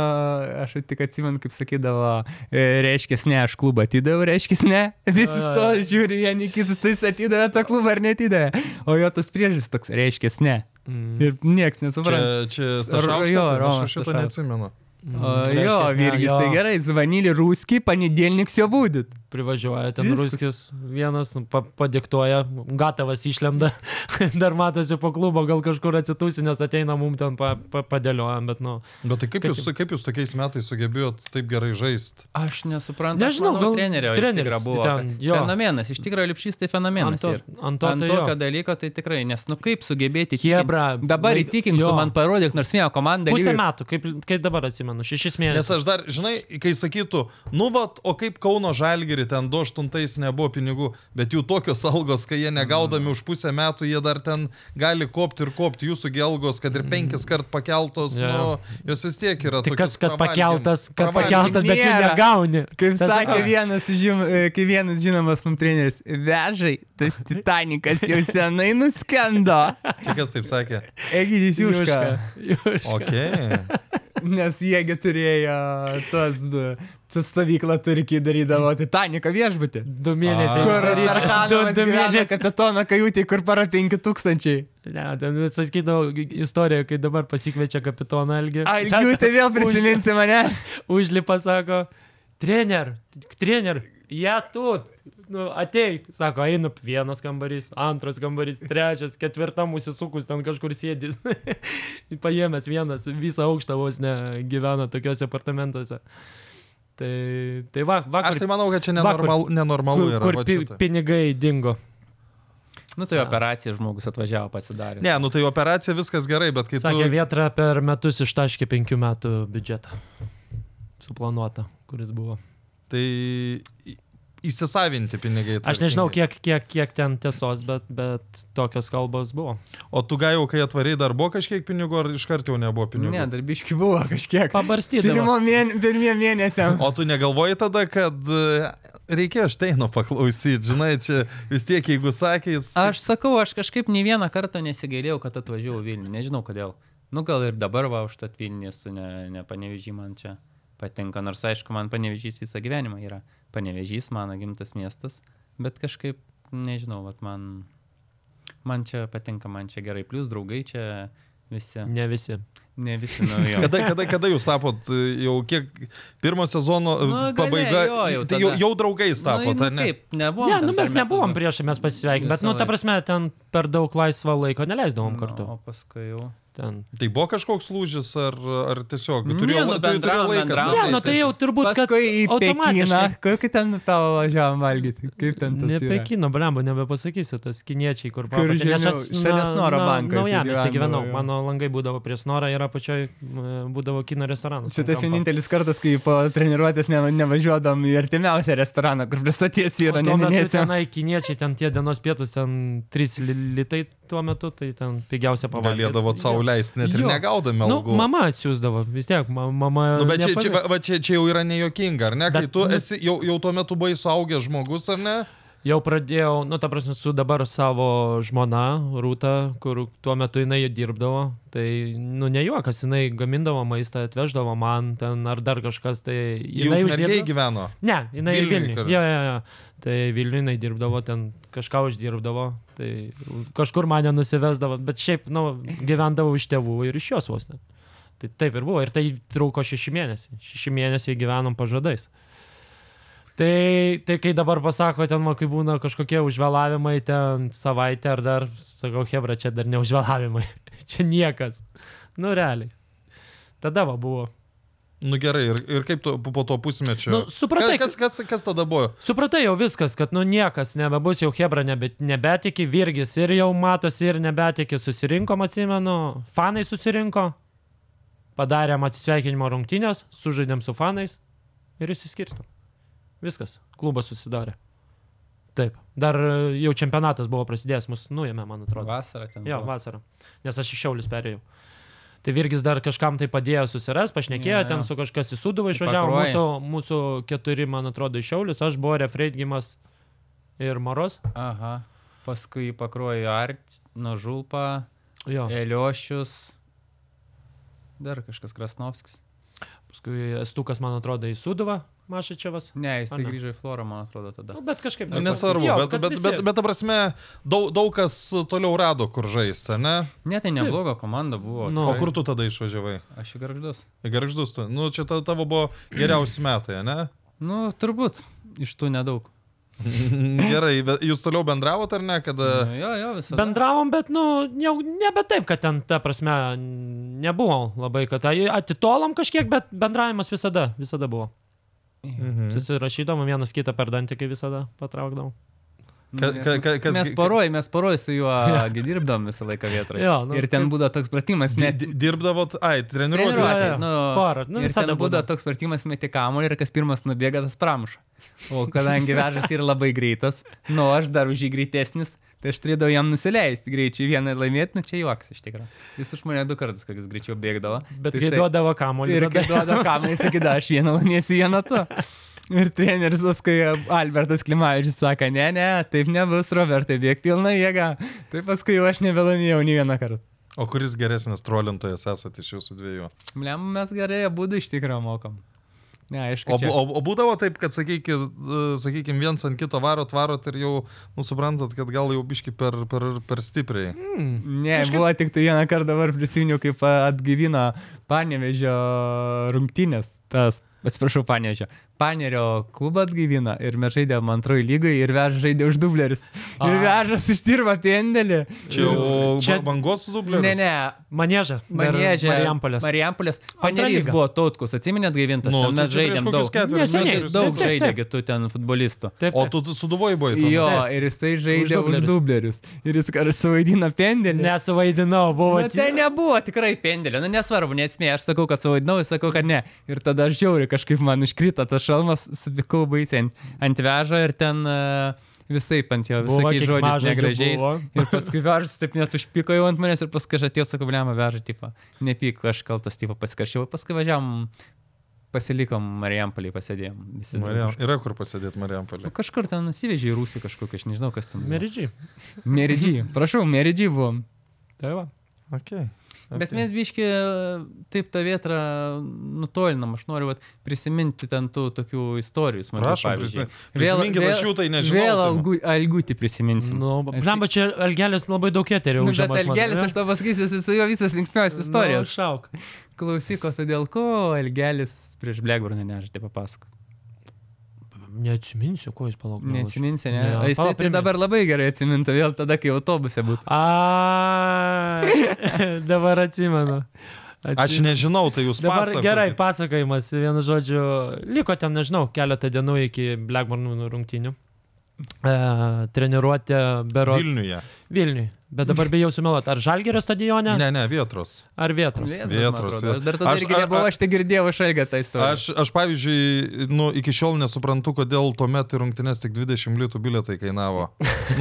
Speaker 2: aš tik atsimenu, kaip sakydavo, e, reiškia, ne, aš klubą atidavau, reiškia, ne, visi
Speaker 3: Jo,
Speaker 2: to žiūri, vieni kitus, tai jis atidavė tą klubą ar netidavė. O jo tas priežastis toks, reiškia, ne.
Speaker 3: Mm.
Speaker 2: Ir niekas
Speaker 1: Čia,
Speaker 2: nesupranta.
Speaker 1: čia
Speaker 2: Ro- jo,
Speaker 1: Stašauskas,
Speaker 2: Romas
Speaker 1: aš šito
Speaker 2: Stašauskas.
Speaker 1: neatsimenu.
Speaker 2: O,
Speaker 3: mm, Reiškias,
Speaker 2: Mm. jo,
Speaker 3: ne,
Speaker 2: Virgis,
Speaker 3: jo.
Speaker 2: tai gerai, zvanylį rūskį, panedelniks jau būdit.
Speaker 3: Privažiuoja ten
Speaker 2: Viskas.
Speaker 3: Ruskis vienas, nu, pa, padiktuoja, Gatavas išlenda, dar matosi po klubo, gal kažkur atsitūsi, nes ateina mum ten pa, pa, padėliojam, bet nu.
Speaker 1: Bet tai kaip
Speaker 3: Kaip
Speaker 1: jūs, kaip jūs tokiais metais sugebėjot taip gerai žaisti?
Speaker 2: Aš nesuprantu.
Speaker 3: Nežinau,
Speaker 2: aš manau,
Speaker 3: gal
Speaker 2: trenerio iš
Speaker 3: treneris tai
Speaker 2: tikro buvo.
Speaker 3: ten, jo.
Speaker 2: fenomenas, iš tikrųjų, lipšys tai
Speaker 3: Ant
Speaker 2: fenomenas.
Speaker 3: to,
Speaker 2: ir-
Speaker 3: ant to,
Speaker 2: Ant
Speaker 3: tai
Speaker 2: tokio
Speaker 3: jo.
Speaker 2: dalyko tai tikrai, nes nu kaip sugebėti
Speaker 3: Chebra,
Speaker 2: įtikint? Dabar
Speaker 3: lai-
Speaker 2: įtikink, tu
Speaker 3: jo.
Speaker 2: man parodyk nors vieną komandą.
Speaker 3: Pusę
Speaker 2: lygiai-
Speaker 3: metų, kaip, kaip dabar atsimenu, šešis
Speaker 1: Nes
Speaker 3: mėnesius.
Speaker 1: aš dar, žinai, kai sakytų, nu vat, o kaip Kauno Žalgiri ten 28-ais nebuvo pinigų, bet jų tokios algos, kai jie negaudami
Speaker 3: Mm.
Speaker 1: už pusę metų, jie dar ten gali kopti ir kopti jūsų gelgos, kad ir penkis kart pakeltos,
Speaker 3: Jo, jo.
Speaker 1: nu, jos vis tiek yra.
Speaker 3: Mm. Tai
Speaker 1: tokios
Speaker 3: kas, kad
Speaker 1: pravalgin-
Speaker 3: pakeltas, kad
Speaker 1: pravalgin-
Speaker 3: pakeltas, bet jų
Speaker 2: Nėra.
Speaker 3: negauni.
Speaker 2: Kaip
Speaker 3: Tas-
Speaker 2: sakė
Speaker 3: a.
Speaker 2: vienas, žim, e, kai vienas žinomas mums treneris, vežai, tas Titanikas jau senai nuskendo.
Speaker 1: Čia kas taip sakė?
Speaker 2: Egidijus Juška.
Speaker 3: Juška.
Speaker 1: Ok.
Speaker 2: Nes jiegi turėjo tos, e, su stovykla turkiai darydavo Titaniką viešbutį.
Speaker 3: Du mėnesiai.
Speaker 2: Kur
Speaker 3: uždaryti.
Speaker 2: Tarkanovas
Speaker 3: Du- du
Speaker 2: gyvena
Speaker 3: mėnesiai.
Speaker 2: kapitono kajutį, kur para 5000.
Speaker 3: Ne, ten sakydavo istoriją, kai dabar pasikviečia kapitoną Elgį.
Speaker 2: Ai, jų tai vėl prisiminsi mane.
Speaker 3: Užlipa, sako, trener, trener, jie tu, nu, ateik, sako, einu, vienas kambarys, antras kambarys, trečias, ketvirtam užsisukus ten kažkur sėdis. Paėmęs vienas, visą aukštą vos ne gyvena tokiuose apartamentuose. Tai, tai va, vakar,
Speaker 1: Aš tai manau, kad čia
Speaker 3: Vakar-
Speaker 1: nenormal, nenormalu
Speaker 3: kur,
Speaker 1: yra.
Speaker 3: kur
Speaker 1: va
Speaker 3: pi,
Speaker 1: čia tai.
Speaker 3: pinigai dingo.
Speaker 2: Nu, tai operacija žmogus atvažiavo pasidarė.
Speaker 1: Ne, nu tai operacija viskas gerai, bet kai
Speaker 3: Sakė,
Speaker 1: Tai tu...
Speaker 3: vietra per metus ištaškė penkių metų biudžetą. Suplanuota, kuris buvo.
Speaker 1: Tai įsisavinti pinigai. tai
Speaker 3: Aš nežinau,
Speaker 1: tvarkingai.
Speaker 3: kiek, kiek, kiek ten tiesos, bet, bet tokios kalbos buvo.
Speaker 1: O tu gai jau, kai atvarai, dar buvo kažkiek pinigų, ar iš karto jau nebuvo pinigų?
Speaker 2: Ne, darbiški buvo kažkiek.
Speaker 3: Pabarstydavo.
Speaker 2: Pirmo mėn... Pirmie mėnesiam.
Speaker 1: O tu negalvoji tada, kad e, reikėjo šteino paklausyti, žinai, čia vis tiek, jeigu sakys,
Speaker 5: Aš sakau, aš kažkaip nei vieną kartą nesigailėjau, kad atvažiavau į Vilnių. Nežinau kodėl. Nu gal ir dabar va užtat Vilnių su ne, ne panevežį man čia patinka. Nors aišku, man panevežys visą gyvenimą yra. Panevežys mano gimtas miestas. Bet kažkaip, nežinau, vat man, man čia patinka, man čia gerai. Plus draugai čia visi.
Speaker 3: Ne visi.
Speaker 5: Ne visi naujo.
Speaker 1: Kada, kada, kada jūs tapot, e, jau kiek pirmo sezono e,
Speaker 5: Nu, gale,
Speaker 1: pabaiga,
Speaker 5: jo, jau
Speaker 1: tai jau,
Speaker 5: tada. Nu,
Speaker 1: jau draugais tapot, ar ne?
Speaker 5: Taip, nebuvom.
Speaker 3: Ne,
Speaker 5: ten
Speaker 3: nu
Speaker 5: per
Speaker 3: mes
Speaker 5: metus,
Speaker 3: nebuvom
Speaker 5: bet-
Speaker 3: priešai, mes pasisveikinome, bet, nu, ta
Speaker 5: Visąlaik.
Speaker 3: prasme, ten per daug laisvo laiko neleisdavom
Speaker 5: Nu,
Speaker 3: kartu.
Speaker 5: O paskui jau.
Speaker 3: Ten.
Speaker 1: Tai buvo kažkoks lūžis, ar, ar tiesiog
Speaker 5: Ne,
Speaker 1: turėjo,
Speaker 5: nu,
Speaker 1: la- tu-
Speaker 5: bendravom,
Speaker 1: turėjo laiką.
Speaker 5: bendravom.
Speaker 1: savo.
Speaker 3: Ne, nu tai jau turbūt, kad
Speaker 2: Paskui į Pekiną.
Speaker 3: automatiškai.
Speaker 2: Kokį ten tavo važiavam valgyti? Kaip ten tas
Speaker 3: Ne
Speaker 2: yra?
Speaker 3: Pekino, blemba, nebepasakysiu, tas kiniečiai, kur
Speaker 2: Kur
Speaker 3: pamatė. Nes
Speaker 2: žemiau,
Speaker 3: aš
Speaker 2: šalia Snoro banko jisai
Speaker 3: Naujamiestį
Speaker 2: gyvendavo,
Speaker 3: gyvenau,
Speaker 2: jo.
Speaker 3: mano langai būdavo prie Snoro ir apačioje būdavo kino
Speaker 1: Nu,
Speaker 3: restoranas.
Speaker 2: Šitas
Speaker 3: ant kampo.
Speaker 2: vienintelis kartas, kai po treniruotės ne, nevažiuodam į artimiausią restoraną, kur pristaties
Speaker 3: O
Speaker 2: yra,
Speaker 3: tuo metu
Speaker 2: neminėsiu.
Speaker 3: Tenai kiniečiai, ten tie dienos pietus, ten 3 litai tuo metu, tai ten pigiausia pavalgyti.
Speaker 1: Galėdavo savo leisti, net ir
Speaker 3: Jo.
Speaker 1: negaudami
Speaker 3: Nu,
Speaker 1: algų.
Speaker 3: mama atsiųsdavo, vis tiek, ma- mama.
Speaker 1: Nu, bet čia, čia,
Speaker 3: nepamirš-
Speaker 1: va, va, čia, čia jau yra nejuokinga, ar ne? Kai
Speaker 3: Bet,
Speaker 1: tu
Speaker 3: nu-
Speaker 1: esi, jau, jau tuo metu buvai suaugęs žmogus, ar ne?
Speaker 3: Jau pradėjau, nu, ta prasme, su dabar savo žmona, Rūta, kur tuo metu jinai dirbdavo, tai, nu, ne juokas, jinai gamindavo maistą, atveždavo man ten ar dar kažkas, tai
Speaker 1: Jau
Speaker 3: jinai
Speaker 1: mergiai
Speaker 3: uždirbdavo.
Speaker 1: gyveno.
Speaker 3: Ne, jinai
Speaker 1: Vilniuj
Speaker 3: Vilniuje.
Speaker 1: kar-
Speaker 3: Jo, jo, jo. Tai Vilniuje jinai dirbdavo, ten kažką uždirbdavo, tai kažkur mane nusivesdavo, bet šiaip, nu, gyvendavau iš tėvų ir iš jos vos. Ne. Tai taip ir buvo, ir tai truko šeši mėnesiai. Šeši mėnesiai gyvenom pažadais. Tai, tai kai dabar pasako, ten, va, kai būna kažkokie užvėlavimai, ten savaitę ar dar, sakau, Hebra, čia dar ne užvėlavimai, čia niekas. Nu, realiai. Tada va buvo.
Speaker 1: Nu gerai, ir, ir kaip tu po to pusmečio?
Speaker 3: Nu, supratai,
Speaker 1: kas, kas, kas, kas tada buvo?
Speaker 3: Supratai jau viskas, kad nu niekas nebebus, jau Hebra nebe, nebetiki, Virgis ir jau matosi ir nebetiki, susirinkom, atsimenu, fanai susirinko, padarėm atsisveikinimo rungtynės, sužaidėm su fanais ir išsiskirstam. Viskas, klubas susidarė. Taip, dar e, jau čempionatas buvo prasidėjęs, mus nuėmė, man atrodo.
Speaker 5: Vasarą ten.
Speaker 3: Jo,
Speaker 5: buvo.
Speaker 3: vasarą. Nes aš iš Šiaulius perėjau. Tai Virgis dar kažkam tai padėjo susiras, pašnekėjo,
Speaker 5: Jo,
Speaker 3: ja,
Speaker 5: jo.
Speaker 3: ten su kažkas į Suduvą
Speaker 5: Į
Speaker 3: išvažiavo.
Speaker 5: Pakruojį.
Speaker 3: Mūsų, mūsų keturi, man atrodo, iš Šiaulius. Aš buvau Refreidgimas ir Maros.
Speaker 5: Aha. Paskui pakruoju Art, Nužulpą,
Speaker 3: Jo.
Speaker 1: E.
Speaker 5: Eliošius. Dar kažkas Krasnovskis.
Speaker 3: Paskui Stukas, man atrodo, į Suduvą Mašačiavas.
Speaker 5: Ne, jis
Speaker 3: Ar ne?
Speaker 5: grįžo į Florą, man atrodo, tada.
Speaker 3: Nu, bet kažkaip.
Speaker 1: Nu, Nesvarbu,
Speaker 3: Jo,
Speaker 1: bet,
Speaker 3: kad
Speaker 1: bet,
Speaker 3: visi-
Speaker 1: bet, bet ta prasme, daug, daug kas toliau rado, kur žaisti, ne?
Speaker 5: Ne, tai nebloga komanda buvo.
Speaker 3: Nu.
Speaker 1: O
Speaker 3: Taip.
Speaker 1: kur tu tada išvažiavai?
Speaker 5: Aš į garždus.
Speaker 1: Į Garždus, tu. Nu, čia ta- tavo buvo geriausi metai, ne?
Speaker 5: Nu, turbūt. Iš tų nedaug.
Speaker 1: Gerai, bet jūs toliau bendravot ar ne, e, kada...
Speaker 5: Nu, jo, jo, visą.
Speaker 3: Bendravom, bet, nu, jau nebe taip, kad ten, ta prasme, nebuvo labai, kad ai, atitolom kažkiek, bet bendravimas visada, visada buvo.
Speaker 1: Mhm.
Speaker 3: Susirašydavom vienas kitą per dantį, kai visada patraukdavom.
Speaker 5: Nu,
Speaker 1: Ka- ka- ka- kas-
Speaker 2: Mes poroj, mes poroj su juo gi dirbdavom visą laiką vietoje.
Speaker 3: Jo, nu,
Speaker 2: ir ten
Speaker 3: kaip-
Speaker 2: būdavo toks pratimas,
Speaker 1: Di-
Speaker 2: mes
Speaker 1: di- Dirbdavot, ai, treniruotės.
Speaker 3: Treniruotės.
Speaker 2: treniruotėje.
Speaker 3: jo. Porą, nu,
Speaker 2: ir
Speaker 3: visada
Speaker 2: ten būdavo
Speaker 3: būna.
Speaker 2: toks pratimas meti kamuolį ir kas pirmas nubėga, tas pramuša. O kadangi vežas yra labai greitas, nu aš dar už jį greitesnis, tai aš turėdavau jam nusileisti greičiai vieną laimėti, nu čia juoks iš tikrųjų. Jis už mane du kartus, kokius greičiau bėgdavo.
Speaker 3: Bet
Speaker 2: Tai
Speaker 3: kai
Speaker 2: jisai-
Speaker 3: duodavo kamuolį.
Speaker 2: Ir
Speaker 3: tada-
Speaker 2: kai duoda kamerą, sakydavo, aš vieną laimėsiu, vieną tu. Ir treneris paskui Albertas Klimavičius sako, ne, ne, taip nebus, Robertai, bėg pilna jėga. Tai paskui jau aš nevėlamėjau nei vieną kartą.
Speaker 1: O kuris geresnis trolintojas esate iš jūsų dviejų?
Speaker 2: Mlem, mes gerai būdų iš tikrųjų mokam. Ne, aišku,
Speaker 1: O, bu- o, o būdavo taip, kad, sakykime, sakykim, viens ant kito varot, varot ir jau, nu, suprantat, kad gal jau biški per, per, per stipriai.
Speaker 3: "Hmm,
Speaker 2: Ne, kažkaip... buvo tik tai vieną kartą dabar prisiminiau, kaip a, atgyvino Panevežio rungtynės. Tas, atsiprašau, Panevežio. Panerio klubą atgyvino ir mes žaidėm antroji lygai ir vežas žaidė už dublerius. Ir
Speaker 3: A.
Speaker 2: vežas uždirba pendelį.
Speaker 1: Čia jau
Speaker 3: Čia-
Speaker 1: ba- bangos dublė.
Speaker 2: Mm, Ne, ne,
Speaker 3: Maniežą.
Speaker 2: Maniežė.
Speaker 3: Marijampolės.
Speaker 2: Marijampolės.
Speaker 3: Antra
Speaker 2: Panerys
Speaker 3: lyga.
Speaker 2: buvo tautkus, atsiminėt gaivintas.
Speaker 1: Nu,
Speaker 2: Nu,
Speaker 1: tai
Speaker 2: mes
Speaker 1: čia prieš
Speaker 2: žaidėm
Speaker 1: kokius
Speaker 2: daug.
Speaker 1: ketverius
Speaker 3: Neseniai.
Speaker 1: metus
Speaker 2: Daug
Speaker 3: Taip, taip, taip.
Speaker 2: žaidėgi tu ten futbolistų.
Speaker 3: Taip,
Speaker 1: O
Speaker 3: taip.
Speaker 1: tu, tu suduvoji buvai tuo
Speaker 2: Jo,
Speaker 3: Taip.
Speaker 2: ir jisai žaidė už
Speaker 3: dublerius.
Speaker 2: dublerius. Ir jis kar suvaidino pendelį.
Speaker 3: Nesuvaidinau, buvo.
Speaker 2: Nu, tai nebuvo tikrai pendelio, nu nesvarbu, nesmė, aš sakau, kad suvaidinau, jis sakau, kad ne. Ir tada aš žiauri kažkaip man iškrito tas šalmas supikau baisiai ant, ant vežo ir ten visai ant jo
Speaker 3: Buvo
Speaker 2: visokiais žodžiais
Speaker 3: keiksmažodžių
Speaker 2: negražiais.
Speaker 3: buvo.
Speaker 2: Ir paskui vežas taip net užpiko jau ant manęs ir paskui aš atėjau, sakau, blema veža, tipo, nepyk, aš kaltas, tipo, pasikaršiau, paskui važiavam, pasilikom Marijampolį, pasėdėjom. Visi
Speaker 1: Marijam, yra kur pasėdėti Marijampolė.
Speaker 2: Nu, Kažkur ten nusivežė į Rusį kažkokią, aš nežinau, kas ten.
Speaker 3: Meridžiai.
Speaker 2: Meridžiai, prašau, meridžiai buvom.
Speaker 3: Tai va.
Speaker 1: Okay.
Speaker 2: Bet
Speaker 1: Okay.
Speaker 2: mes
Speaker 5: Mes biški taip tą vietrą nutolinam, aš noriu vat, prisiminti ten tų tokių istorijų. smagių,
Speaker 1: Prašom,
Speaker 5: pavyzdžiui.
Speaker 1: prisi- prisiminkit, aš jų tai nežinau. tai-
Speaker 2: Vėl algu, algutį prisiminsim.
Speaker 3: Nu, blemba, čia Algelis labai daug eterio
Speaker 2: Mhm. Nu,
Speaker 3: užima.
Speaker 2: bet Elgelis, aš tau pasakysiu, jis jo visas linksmiausias istorijas. Nu,
Speaker 3: Šauk.
Speaker 2: Klausyk, o tai dėl ko Elgelis prieš Blackburną nežadė papasakot?
Speaker 3: Neatsiminsiu, ko jis palaukė.
Speaker 1: Nu,
Speaker 2: Neatsiminsi, ne?
Speaker 3: Ne,
Speaker 2: O jis tai,
Speaker 3: pala,
Speaker 2: tai
Speaker 3: primink.
Speaker 2: dabar labai gerai atsimintų, vėl tada, kai autobuse būtų.
Speaker 3: A, dabar atsimenu. Atsimenu.
Speaker 1: Aš nežinau, tai jūs
Speaker 3: Dabar
Speaker 1: pasakojate.
Speaker 3: gerai, pasakojimas, vienu žodžiu, liko ten, nežinau, keletą dienų iki Blackburn rungtinių. E, treniruotė Beros.
Speaker 1: Vilniuje.
Speaker 3: Vilniui. Bet dabar bijau sumeluoti. Ar Žalgerio stadione,
Speaker 1: Ne,
Speaker 3: ne.
Speaker 1: ne, vietros.
Speaker 3: ar Vietros?
Speaker 2: Vėtros, man
Speaker 1: Vėtros,
Speaker 2: atrodo.
Speaker 1: vė-
Speaker 2: Aš dar tada
Speaker 1: Aš-
Speaker 2: irgi
Speaker 1: a-
Speaker 2: nebuvau,
Speaker 1: a-
Speaker 2: aš tai girdėjau iš Elgio tą istoriją.
Speaker 1: Aš, aš pavyzdžiui, nu, iki šiol nesuprantu, kodėl tuo metu į rungtynes tik 20 litų bilietai kainavo.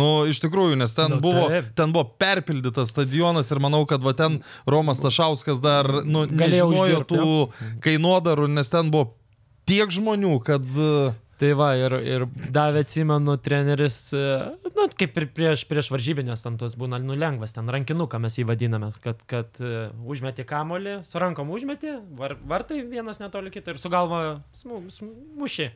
Speaker 1: Nu, iš tikrųjų, nes ten,
Speaker 3: Nu,
Speaker 1: buvo,
Speaker 3: taip.
Speaker 1: ten buvo perpildytas stadionas ir manau, kad va ten Romas Tašauskas dar nu,
Speaker 3: Galėjo
Speaker 1: nežinojo
Speaker 3: uždirbt,
Speaker 1: tų kainodarų, nes ten buvo tiek žmonių, kad... uh,
Speaker 3: Tai va, ir, ir davė, atsimenu, treneris, na, nu, kaip ir prieš, prieš varžybinės, ten tos būna nu, lengvas, ten rankinuką mes jį vadiname, kad, kad e, užmeti kamolį, su rankom užmeti, var, vartai vienas netoli kito ir su galva smu- smu- muši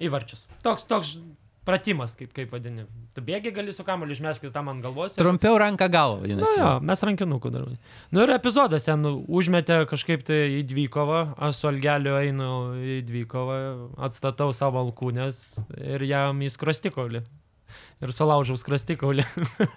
Speaker 3: į varčius. Toks, toks pratimas, kaip, kaip vadini. Tu bėgi gali su kamoliu, užmeškis tam ant galvos. Ir...
Speaker 2: Trumpiau ranką galvą,
Speaker 3: Na,
Speaker 1: Nu
Speaker 2: vadinasi.
Speaker 3: jo, mes rankinukų darome. Nu ir epizodas ten užmetė kažkaip tai į dvikovą, aš su Algeliu einu į dvikovą, atstatau savo alkūnės ir jam į skrastikaulį. Ir sulaužau skrastikaulį.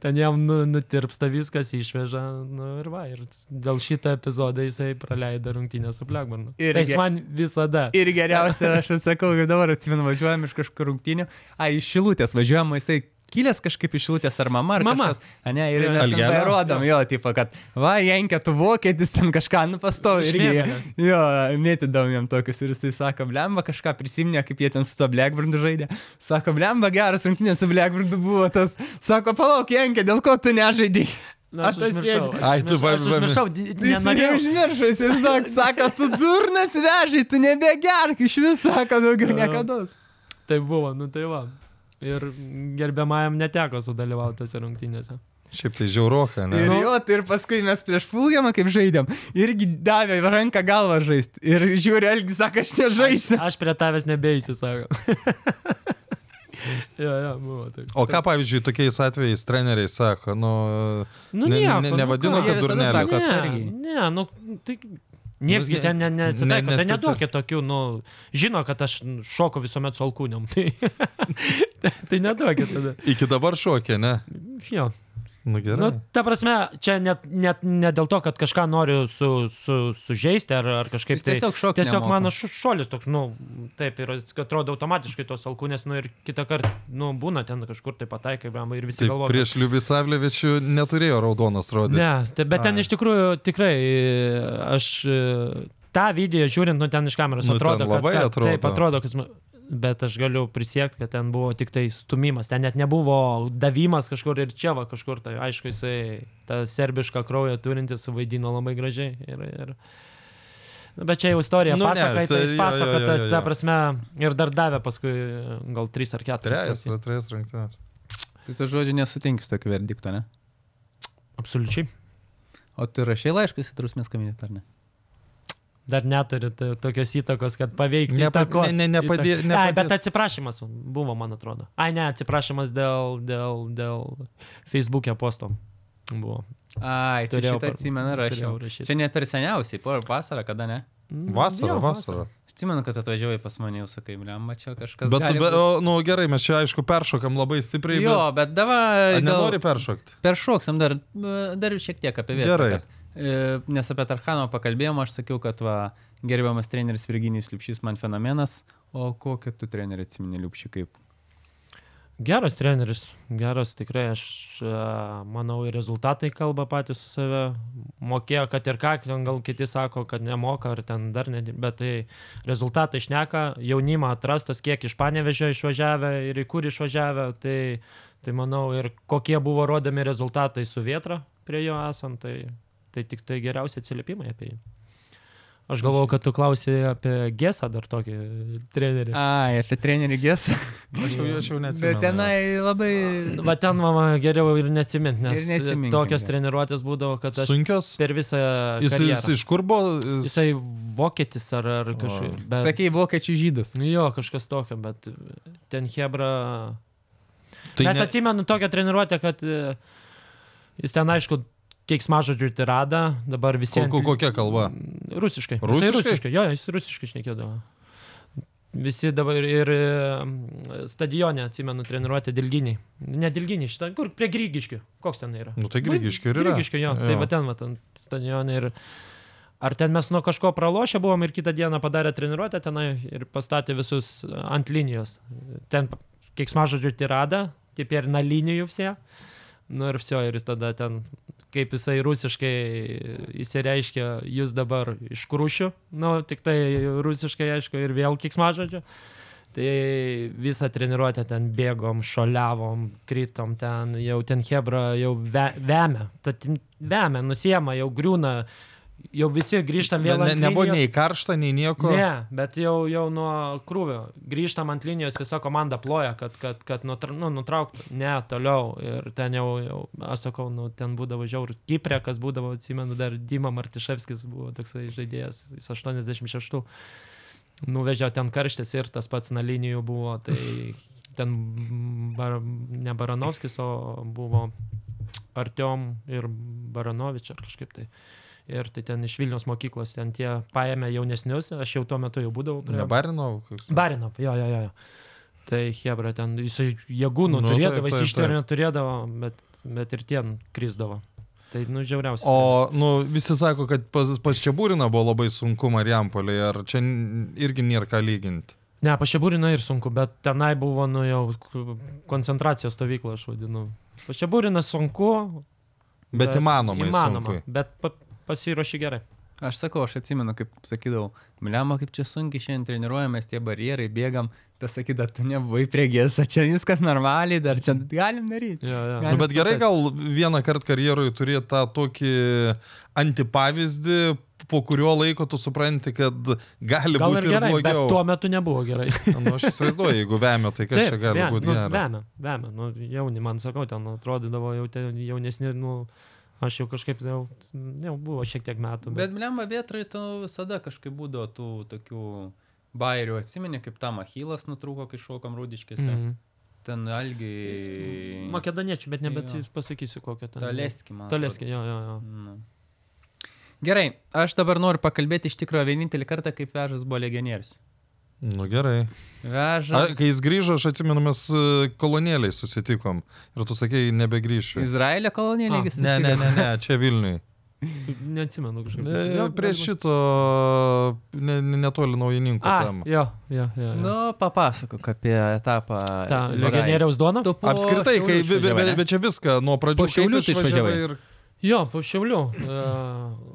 Speaker 3: ten jam nu, nutirpsta viskas, išveža. Nu ir va, ir dėl šito epizodo jisai praleido rungtynę su Blackburnu.
Speaker 2: Irgi.
Speaker 3: Ir jis man visada.
Speaker 2: Ir geriausia, aš atsakau, kaip dabar atsimenu, važiuojam iš kažkur rungtinių. A, iš šilutės važiuojam, o jisai kilęs kažkaip iš šilutės ar mama. Ar
Speaker 3: Mama.
Speaker 2: Kažkas, a, ne, ir
Speaker 3: Jo.
Speaker 2: mes
Speaker 1: Algelio?
Speaker 2: ten rodom, jo, tipo, kad, va, Jankė, tu vokietis ten kažką nupastovi.
Speaker 3: Iš
Speaker 2: Irgi,
Speaker 3: Mėmelio.
Speaker 2: jo, mėtydom jam tokius ir jisai sako, blemba, kažką prisiminė, kaip jie ten su to Blackburnu žaidė. Sako, blemba, geras rungtinės su Blackburnu buvo tas. Sako, palauk, Jankė, dėl ko tu nežaidai?
Speaker 3: Nu, aš
Speaker 2: Atas
Speaker 3: užmiršau.
Speaker 2: sėdi.
Speaker 3: Aš
Speaker 1: Ai, tu
Speaker 3: užmiršau, aš
Speaker 1: va- va-
Speaker 3: užmiršau, di-
Speaker 2: Jis
Speaker 3: nenorėjau.
Speaker 2: neužmiršus, jis toks sako, tu durnas vežai, tu nebegerk, iš viso sako daugiau
Speaker 3: Jo.
Speaker 2: niekada.
Speaker 3: Tai buvo, nu tai va. Ir gerbiamajam neteko sudalyvauti tose rungtynėse.
Speaker 1: Šiaip tai žiauroka, ne?
Speaker 2: Ir
Speaker 3: Nu.
Speaker 2: jo, tai ir paskui mes prieš Fulgiamą kaip žaidėm, irgi davė ranką galvą žaisti. Ir žiūri, Elgis sako, aš nežaisiu.
Speaker 3: Aš prie tavęs nebeisiu, sako. jo, jo, buvo toks.
Speaker 1: O ką, pavyzdžiui, tokiais atvejais treneriai sako, nu,
Speaker 3: Nu,
Speaker 1: ne- ne-
Speaker 3: nieko,
Speaker 1: ne-
Speaker 3: nu
Speaker 1: nevadino,
Speaker 3: ką?
Speaker 1: kad
Speaker 2: Jie visada
Speaker 1: durnelis.
Speaker 2: sako,
Speaker 3: Ne,
Speaker 2: atsargiai.
Speaker 3: ne, nu, tai... Niekas
Speaker 1: Visgi-
Speaker 3: ten neatsitiko,
Speaker 1: Nu, ne-
Speaker 3: ne, tai
Speaker 1: nespeci-
Speaker 3: neduokė tokių, nu, žino, kad aš šoku visuomet su alkūniam. Tai, tai, tai neduokė tada.
Speaker 1: Iki dabar šokė, ne?
Speaker 3: Jo.
Speaker 1: Nu gerai.
Speaker 3: Nu, ta prasme, čia net, net ne dėl to, kad kažką noriu su, su, sužeisti ar, ar kažkaip
Speaker 2: Jis
Speaker 3: tai.
Speaker 2: tiesiog šokt
Speaker 3: Tiesiog
Speaker 2: nemoka.
Speaker 3: mano šu- šuolis toks, nu, taip, ir atrodo automatiškai tos alkūnės, nu, ir kitą kartą, nu, būna ten kažkur tai pataikai, bam, ir visi
Speaker 1: Tai
Speaker 3: galvoja.
Speaker 1: prieš Liubį Savlevičių neturėjo raudonas rodyti.
Speaker 3: Ne, tai, bet ten
Speaker 1: Ai.
Speaker 3: iš tikrųjų tikrai e, aš e, tą video žiūrint, nu ten iš kameros
Speaker 1: Nu, ten
Speaker 3: atrodo, kad,
Speaker 1: labai
Speaker 3: kad,
Speaker 1: atrodo.
Speaker 3: Taip, atrodo, kad, sm- bet aš galiu prisiekti, kad ten buvo tik tai stumimas, ten net nebuvo davimas kažkur ir čia va kažkur, tai aišku, jisai tą serbišką kraują turintis suvaidino labai gražiai. Ir, ir... Nu, bet čia jau istorija,
Speaker 1: Nu,
Speaker 3: nu,
Speaker 1: ne,
Speaker 3: pasakai,
Speaker 1: tai
Speaker 3: tai jis
Speaker 1: jo, jo,
Speaker 3: pasako,
Speaker 1: jo,
Speaker 3: ta,
Speaker 1: jo,
Speaker 3: ta
Speaker 1: jo.
Speaker 3: prasme, ir dar davė paskui e, gal 3 ar 4.
Speaker 1: Trejas, ar trejas rungtynės.
Speaker 2: Tai tu žodžiu nesutinki su tokiu verdiktu, ne?
Speaker 3: Absoliučiai.
Speaker 2: O tu rašai laiškus į trusmės kabinetą, ar ne?
Speaker 3: Dar neturi t- tokios įtakos, kad paveikti.
Speaker 1: Nepa-
Speaker 3: įtako-
Speaker 1: ne- ne- nepadė-
Speaker 3: įtak- Ai,
Speaker 1: nepadės.
Speaker 3: bet atsiprašymas buvo, man atrodo. Ai, ne, atsiprašymas dėl, dėl, dėl Facebook'e posto. Buvo.
Speaker 2: Ai, tu
Speaker 3: Turėjau
Speaker 2: šitą
Speaker 3: par-
Speaker 2: atsimenu,
Speaker 3: turėjau
Speaker 2: rašiau.
Speaker 3: rašyt.
Speaker 2: Čia ne per seniausiai, po vasarą, kada ne?
Speaker 3: Nu,
Speaker 1: Vasara,
Speaker 3: jo,
Speaker 1: vasara.
Speaker 2: Aš atsimenu, kad atvažiavai pas mane jau, sakai, blemba, čia kažkas.
Speaker 1: Bet,
Speaker 2: gali
Speaker 1: be,
Speaker 2: būt.
Speaker 1: o, nu gerai, mes čia aišku peršokam labai stipriai.
Speaker 2: Jo,
Speaker 1: bet-
Speaker 2: bet
Speaker 1: A,
Speaker 2: davai. gal-
Speaker 1: nenori peršokti.
Speaker 2: Peršoksam dar, e, dar šiek tiek apie vietą.
Speaker 1: Gerai.
Speaker 2: Kad, e, nes apie Tarkano pakalbėjom, aš sakiau, kad va, gerbiamas treneris Virginijus Liupšys man fenomenas. O kokį tu trenerį atsimeni Liupšį kaip?
Speaker 3: Geras treneris, geras tikrai, aš a, manau, ir rezultatai kalba patys su save. Mokėjo, kad ir ką, ten gal kiti sako, kad nemoka ar ten dar ne, bet tai rezultatai šneka, jaunimą atrastas, kiek iš panevežio išvažiavę ir į kur išvažiavę, tai, tai manau ir kokie buvo rodomi rezultatai su vietra prie jo esant, tai, tai tik tai geriausi atsiliepimai apie jį. Aš galvau, kad tu klausai apie Gesą dar tokį trenerį.
Speaker 2: Ai, apie trenerių ges.
Speaker 1: Aš jau, aš jau neatsimenu.
Speaker 2: Bet tenai labai...
Speaker 3: Va ten, mama, geriau ir neatsimint, nes
Speaker 2: Ir neatsiminkim,
Speaker 3: tokios
Speaker 2: jo.
Speaker 3: treniruotės būdavo, kad aš
Speaker 1: Sunkios.
Speaker 3: per visą...
Speaker 1: Jis, jis
Speaker 3: karjerą.
Speaker 1: iš kur buvo? Jis...
Speaker 3: Jisai vokietis ar, ar kažkaip. Bet...
Speaker 2: Sakei, vokiečių žydas.
Speaker 3: Nu Jo, kažkas tokio, bet ten Hebra...
Speaker 1: Tai
Speaker 3: Tai Mes ne... atsimenu tokią treniruotę, kad e, jis ten, aišku, keiksmažodžių tiradą, dabar visi...
Speaker 1: ko, ko,
Speaker 3: ant-
Speaker 1: kokia kalba?
Speaker 3: Mm, Rusiškai. Jisai
Speaker 1: Rusiškai?
Speaker 3: rusiškai. Jo, jis rusiškai šnekėdavo. Visi dabar ir e, stadione, atsimenu, treniruotė Dilginiai. Ne Dilginiai, šitą, kur prie Grygiškių. Koks ten yra?
Speaker 1: Nu tai grigiški ir yra.
Speaker 3: Grigiškių, jo. jo. Tai va ten, va ten stadione ir... Ar ten mes nuo kažko pralošę buvom ir kitą dieną padarė treniruotę tenai ir pastatė visus ant linijos. Ten keiksmažodžių tirada, kaip ir na linijų visi. Nu ir viso, ir jis tada ten, kaip jisai rusiškai įsireiškia, jūs dabar iš krūšių, nu tik tai rusiškai, aišku, ir vėl kiksmažodžiu. Tai visą treniruotę ten bėgom, šoliavom, krytom ten, jau ten Hebra jau ve, vemia, tad vemia, nusiema, jau griūna, jau visi grįžtam
Speaker 1: Ne,
Speaker 3: vėl.
Speaker 1: ne,
Speaker 3: ant
Speaker 1: nebuvo
Speaker 3: linijos.
Speaker 1: nei karšta, nei nieko.
Speaker 3: Ne, bet jau, jau nuo krūvio. Grįžtam ant linijos, visa komanda ploja, kad, kad, kad nutra, nu, nutrauktų. Ne, toliau. Ir ten jau, jau aš sakau, nu, ten būdavo žiaur. Kiprė, kas būdavo, atsimenu, dar Dima Martiševskis buvo toksai žaidėjas, jis 86. Nuvežiau ten karštis ir tas pats na linijų buvo. Tai ten bar, ne Baranovskis, o buvo Artiom ir Baranovič ar kažkaip tai. Ir tai ten iš Vilnius mokyklos, ten tie paėmė jaunesnius, aš jau tuo metu jau būdavau. prie-
Speaker 1: Nebarinau. koks-
Speaker 3: Barinov, jo, jo, jo. jo. Tai Hebra ten, jis jėgų
Speaker 1: Nu,
Speaker 3: nuturėdavo,
Speaker 1: taip,
Speaker 3: jis
Speaker 1: taip,
Speaker 3: išternio turėdavo, bet, bet ir tien krizdavo. Tai, nu, žiauriausia.
Speaker 1: O, nu, visi sako, kad pas, pas Čiabūriną buvo labai sunku Marijampolį, ar čia n- irgi nėra ką lyginti.
Speaker 3: Ne, pašiabūrina ir sunku, bet tenai buvo, nu, jau k- koncentracijos stovykla, aš vadinu. Pašiabūrina sunku.
Speaker 1: Bet, bet įmanomai įmanoma.
Speaker 3: Įmanoma,
Speaker 1: sunku.
Speaker 3: bet pa, pasiruoši gerai.
Speaker 2: Aš sakau, aš atsimenu, kaip sakydavau, Miliamo, kaip čia sunkiai šiandien treniruojamės, tie barjerai, bėgam, tas sakydavo, tu nebuvai prie gėsą, čia viskas normaliai, dar čia galim daryti.
Speaker 3: Jo, jo.
Speaker 1: Nu, bet gerai gal vieną kartą karjerui turėti tą tokį antipavyzdį, po kurio laiko tu supranti, kad gali
Speaker 3: Gal ir
Speaker 1: būti ir,
Speaker 3: gerai, Nu, bet
Speaker 1: blogiau.
Speaker 3: tuo metu nebuvo gerai.
Speaker 1: Nu, aš įsivaizduoju, jeigu vemia, tai kas čia gali
Speaker 3: vem-
Speaker 1: būti
Speaker 3: nu,
Speaker 1: gero.
Speaker 3: Vemia, vemia, nu, jauni, man sakau, ten atrodydavo jau ten jaunesni, nu, aš jau kažkaip jau, jau buvo šiek tiek metų.
Speaker 2: Bet Miliamo vietrai tu visada kažkaip būdavo tų tokių bairių, atsimeni, kaip tam Achilas nutrūko, kai šokam rūdiškėse, mm.
Speaker 3: Mhm.
Speaker 2: ten Algiai.
Speaker 3: Makedoniečių, bet nebet
Speaker 2: Tai- Jo.
Speaker 3: pasakysiu kokią ten.
Speaker 2: Taleski, man.
Speaker 3: Toleskį, jo, jo, jo.
Speaker 2: Nu. Gerai, aš dabar noriu pakalbėti iš tikrųjų vienintelį kartą, kaip vežas buvo legionierius.
Speaker 1: Nu gerai. A,
Speaker 2: Vežas.
Speaker 1: kai jis grįžo, aš atsimenu, mes e, kolonėliai susitikom ir tu sakei, nebegrįšiu.
Speaker 2: Izraelio kolonėlė,
Speaker 3: A,
Speaker 2: jis
Speaker 1: Ne, ne, ne, ne, čia Vilniui.
Speaker 3: Neatsimenu kažkaip.
Speaker 1: E,
Speaker 3: Jo,
Speaker 1: Prie
Speaker 3: galbūt.
Speaker 1: šito ne, ne- netoli naujininkų
Speaker 3: A,
Speaker 1: tam.
Speaker 3: jo, jo, jo. jo.
Speaker 2: Nu, papasakok apie etapą.
Speaker 3: Ta,
Speaker 2: Izraelio.
Speaker 3: legionieriaus duona?
Speaker 2: Tu po
Speaker 1: Apskritai,
Speaker 2: Šiaulių
Speaker 1: kai, be,
Speaker 2: išvažiavai,
Speaker 1: be,
Speaker 2: ne?
Speaker 1: be čia viską nuo pradžių
Speaker 2: Po Šiaulių tu išvažiavai?
Speaker 1: ir...
Speaker 3: Jo, po Šiaulių. E,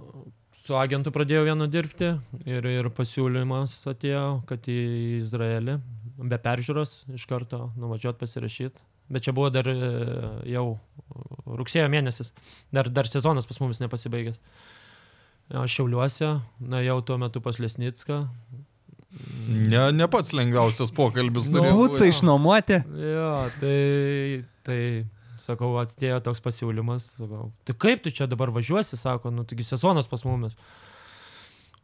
Speaker 3: Su agentu pradėjau vienu dirbti ir, ir pasiūlymas atėjo, kad į Izraelį be peržiūros iš karto nuvažiuot pasirašyti. Bet čia buvo dar e, jau rugsėjo mėnesis, dar, dar sezonas pas mumis nepasibaigęs. Aš šiauliuosi, na jau tuo metu pas Lesnicką.
Speaker 1: Ne, ne pats lengviausias pokalbis
Speaker 2: Nu,
Speaker 1: turėjo.
Speaker 2: Būtsą
Speaker 3: tai-
Speaker 1: būti.
Speaker 2: išnuomoti.
Speaker 3: Jo, tai, tai sakau, atėjo toks pasiūlymas. Sakau, tai kaip tu čia dabar važiuosi, sako, nu taigi sezonas pas mumis.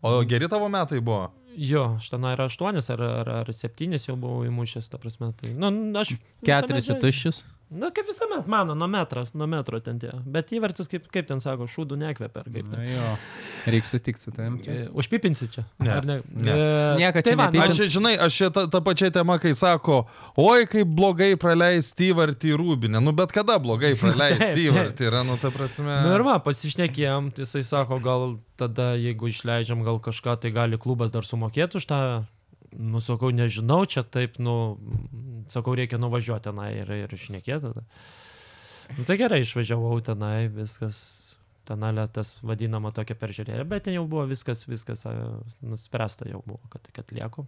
Speaker 1: O geri tavo metai buvo.
Speaker 3: Jo, aš ten ar aštuonis, ar, ar, ar septynis jau buvau įmušęs, ta prasme. Tai, nu, n- aš
Speaker 2: Keturis į
Speaker 3: visuomet žaidžiu.
Speaker 2: tuščius.
Speaker 3: Nu, kaip visuomet, mano, nuo metro, nuo metro ten tie. Bet įvartis, kaip, kaip ten sako, šūdų nekvepia. ar Kaip,
Speaker 2: tai?
Speaker 3: ten.
Speaker 2: Reiks sutikti su tavim.
Speaker 3: E, Užpipinsi čia.
Speaker 1: Ne,
Speaker 3: ar
Speaker 1: ne.
Speaker 3: E,
Speaker 2: Niekad čia
Speaker 3: va,
Speaker 2: nepypins.
Speaker 1: Aš čia, žinai, aš čia ta, ta pačia tema, kai sako, oi, kaip blogai praleisti įvartį į rūbinę. Nu, bet kada blogai
Speaker 3: Taip,
Speaker 1: praleisti
Speaker 3: taip.
Speaker 1: įvartį yra, nu, ta prasme.
Speaker 3: Nu ir va, pasišnekėjom, tai jisai sako, gal tada, jeigu išleidžiam gal kažką, tai gali klubas dar sumokėti už tą, nu sakau, nežinau, čia taip, nu, sakau, reikia nuvažiuoti tenai ir, ir išnekėti. tada. Nu tai gerai, išvažiavau tenai, viskas, tenai tas vadinama tokia peržiūrėlė, bet ten jau buvo viskas, viskas a, nuspręsta jau buvo, kad, kad lieku.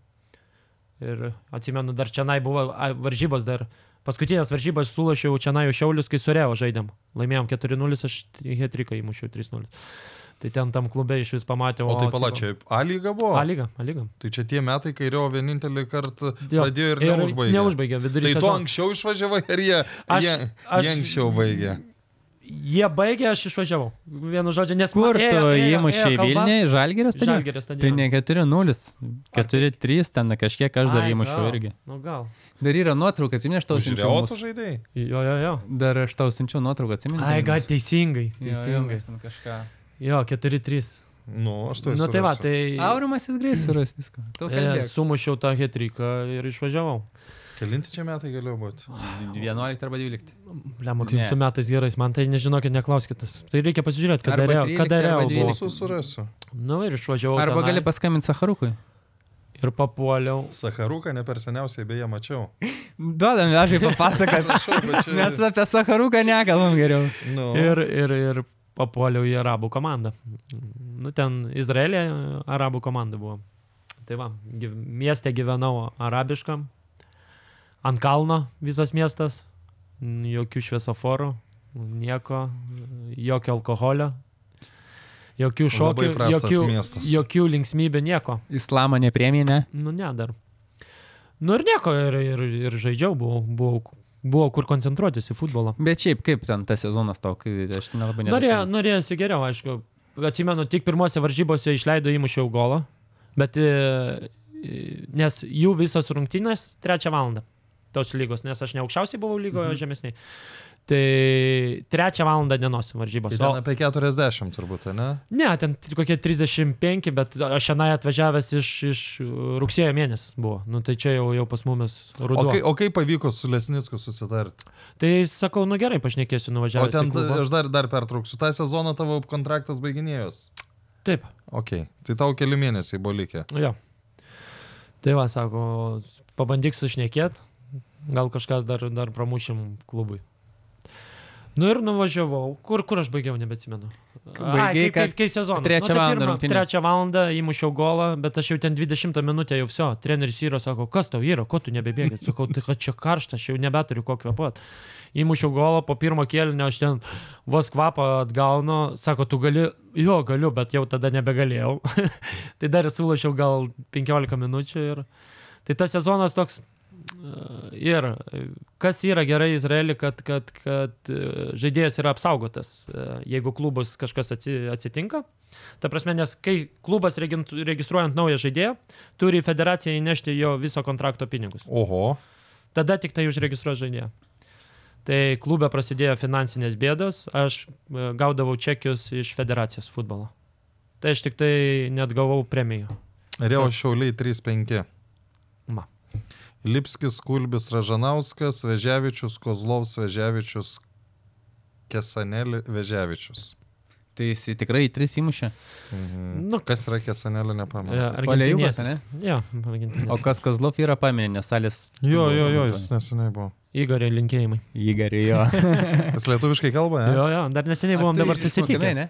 Speaker 3: Ir atsimenu, dar čia nai buvo a, varžybos dar. Paskutinės varžybos sulašiau čia nai Šiaulius, kai surėjo žaidėm. Laimėjom 4-0, aš hetriką įmušiau 3-0. Tai ten tam klube iš vis pamačiau.
Speaker 1: O tai palačiai, A lyga buvo?
Speaker 3: A lyga, A lyga.
Speaker 1: Tai čia tie metai, kai Rio vienintelį kartą
Speaker 3: Jo.
Speaker 1: pradėjo ir neužbaigė.
Speaker 3: Neužbaigė vidury.
Speaker 1: Tai tu
Speaker 3: sezono.
Speaker 1: anksčiau išvažiavai, ar jie,
Speaker 3: Aš-
Speaker 1: jie,
Speaker 3: aš-
Speaker 1: jie anksčiau baigė?
Speaker 3: Jie baigė, aš išvažiavau. Vienu žodžiu, nes man
Speaker 2: Kur tu
Speaker 3: ėjo- ėjo-
Speaker 2: įmušiai
Speaker 3: ėjo kalba-
Speaker 2: Vilniuje, Žalgiras?
Speaker 3: Žalgiris stadione.
Speaker 2: Tai ne 4-0, 4-3 ten kažkiek aš dar
Speaker 3: Ai,
Speaker 2: įmušiau
Speaker 3: gal.
Speaker 2: irgi.
Speaker 3: Nu gal.
Speaker 2: Dar yra nuotrauka, atsimeni, aš tau siunčiau.
Speaker 1: Žiūrėjau, tu
Speaker 2: mūsų-
Speaker 1: žaidėjai?
Speaker 3: Jo, jo, jo.
Speaker 2: Dar aš tau siunčiau nuotrauką, atsimeni.
Speaker 3: Ai,
Speaker 2: ten
Speaker 3: gal
Speaker 2: mūsų?
Speaker 3: teisingai,
Speaker 2: Jo, jo,
Speaker 3: teisingai.
Speaker 2: mes ten Kažką.
Speaker 3: Jo, 4-3.
Speaker 1: Nu, aš to
Speaker 3: Nu
Speaker 1: esu.
Speaker 3: tai va, tai...
Speaker 2: Aurimas jis greit suras viską. Tu
Speaker 3: e,
Speaker 2: kalbėk.
Speaker 3: Sumušiau tą hetriką ir išvažiavau.
Speaker 1: Kelinti čia metai galėjo būti.
Speaker 5: 11 arba 12.
Speaker 3: Lemok,
Speaker 5: Ne.
Speaker 3: jums su metais gerais, man tai nežinokit, neklauskit. Tai reikia pasižiūrėti, kada
Speaker 2: Arba
Speaker 3: real-
Speaker 2: 13,
Speaker 3: kada
Speaker 2: arba
Speaker 3: real buvo.
Speaker 2: 12.
Speaker 1: Mūsų surasiu.
Speaker 3: Nu ir išvažiavau.
Speaker 2: Arba
Speaker 3: tenai
Speaker 2: gali paskambinti Saharukui.
Speaker 3: Ir papuoliau.
Speaker 1: Saharuką ne per seniausiai beje mačiau.
Speaker 2: Duodam, aš jai papasakot.
Speaker 1: Prašau, bet čia-
Speaker 2: Mes apie Saharuką nekalbam geriau.
Speaker 1: Nu,
Speaker 3: Ir, ir, ir papuoliau į arabų komandą. Nu, ten Izraelė e, arabų komanda buvo. Tai va, gyv- mieste gyvenau arabiškam, ant kalno visas miestas, n- jokių šviesoforų, nieko, jokio alkoholio, jokių šokių,
Speaker 1: Labai prastas
Speaker 3: jokių,
Speaker 1: miestas.
Speaker 3: jokių linksmybių, nieko.
Speaker 2: Islamo nepriemė, ne?
Speaker 3: Nu, ne dar. Nu ir nieko, ir, ir, ir žaidžiau, buvau, buvau, buvau kur koncentruotis į futbolą.
Speaker 2: Bet šiaip kaip ten tas sezonas tau, kai aš nelabai
Speaker 3: Norėjo,
Speaker 2: neatsimenu.
Speaker 3: norėjosi geriau, aišku. Atsimenu, tik pirmose varžybose išleido įmušiau golą, bet e, e, nes jų visos rungtynės trečią valandą tos lygos, nes aš ne aukščiausiai buvau lygoje, mhm. žemesniai. Tai trečią valandą dienos varžybos.
Speaker 1: Tai
Speaker 3: O-
Speaker 1: ten apie 40 turbūt, ne?
Speaker 3: Ne, ten t- kokie 35, bet aš šiandien atvažiavęs iš, iš uh, rugsėjo mėnesį buvo. Nu, tai čia jau, jau pas mumis
Speaker 1: O,
Speaker 3: ruduo.
Speaker 1: kai, o kaip pavyko su Lesnicku susitarti?
Speaker 3: Tai sakau, nu gerai, pašnekėsiu
Speaker 1: O
Speaker 3: nuvažiavęs.
Speaker 1: ten
Speaker 3: į klubą.
Speaker 1: aš dar, dar pertrauksiu. Ta sezoną tavo kontraktas baiginėjus.
Speaker 3: Taip.
Speaker 1: Ok, tai tau keli mėnesiai buvo likę.
Speaker 3: Jo. Tai va, sako, pabandyk sušnekėt, gal kažkas dar, dar pramušim klubui. Nu ir nuvažiavau. Kur, kur aš baigiau, nebetsimenu. Ai,
Speaker 2: Baigei,
Speaker 3: kaip- kaip- Kai sezonas. Nu, tai
Speaker 2: trečią valandą rungtynės.
Speaker 3: Trečią valandą įmušiau golą, bet aš jau ten 20 minutę jau viso. Treneris yra, sako, kas tau yra, ko tu nebebėgi. Sakau, tai kad čia karšta, aš jau nebeturiu ko kvepuot. Įmušiau golą po pirmo kėlinio, aš ten vos kvapą atgaunu. Sako, tu gali, jo, galiu, bet jau tada nebegalėjau. tai dar sulašiau gal 15 minučių ir... Tai tas sezonas toks e, ir e, kas yra gerai Izraelį, kad, kad, kad e, žaidėjas yra apsaugotas, e, jeigu klubus kažkas atsi- atsitinka. Ta prasme, nes kai klubas regint- registruojant naują žaidėją, turi į federaciją įnešti jo viso kontrakto pinigus.
Speaker 1: Oho.
Speaker 3: Tada tik tai užregistruoja žaidėją. Tai klube prasidėjo finansinės bėdos, aš e, gaudavau čekius iš federacijos futbolo. Tai aš tik tai net gavau premijų.
Speaker 1: Reo
Speaker 3: Tas-
Speaker 1: Šiauliai 3-5.
Speaker 3: Ma.
Speaker 1: Lipskis, Kulbis, Ražanauskas, Veževičius, Kozlovs, Veževičius, Kesanelį, Veževičius.
Speaker 2: Tai jis tikrai tris įmušė.
Speaker 1: Mhm.
Speaker 3: Nu,
Speaker 1: Kas yra Kesanelį, nepamenu.
Speaker 3: E,
Speaker 2: Palejūgas,
Speaker 3: argentinietis. Jo, argentinietis.
Speaker 2: O kas Kazlov yra paminė, nes salės.
Speaker 1: Jo, jo, jo, jis neseniai buvo.
Speaker 3: Igorė linkėjimai.
Speaker 2: Įgarė jo.
Speaker 1: Jis lietuviškai kalba, ne?
Speaker 3: Jo, jo, dar neseniai
Speaker 2: tai
Speaker 3: buvom dabar susitikę.
Speaker 2: ne?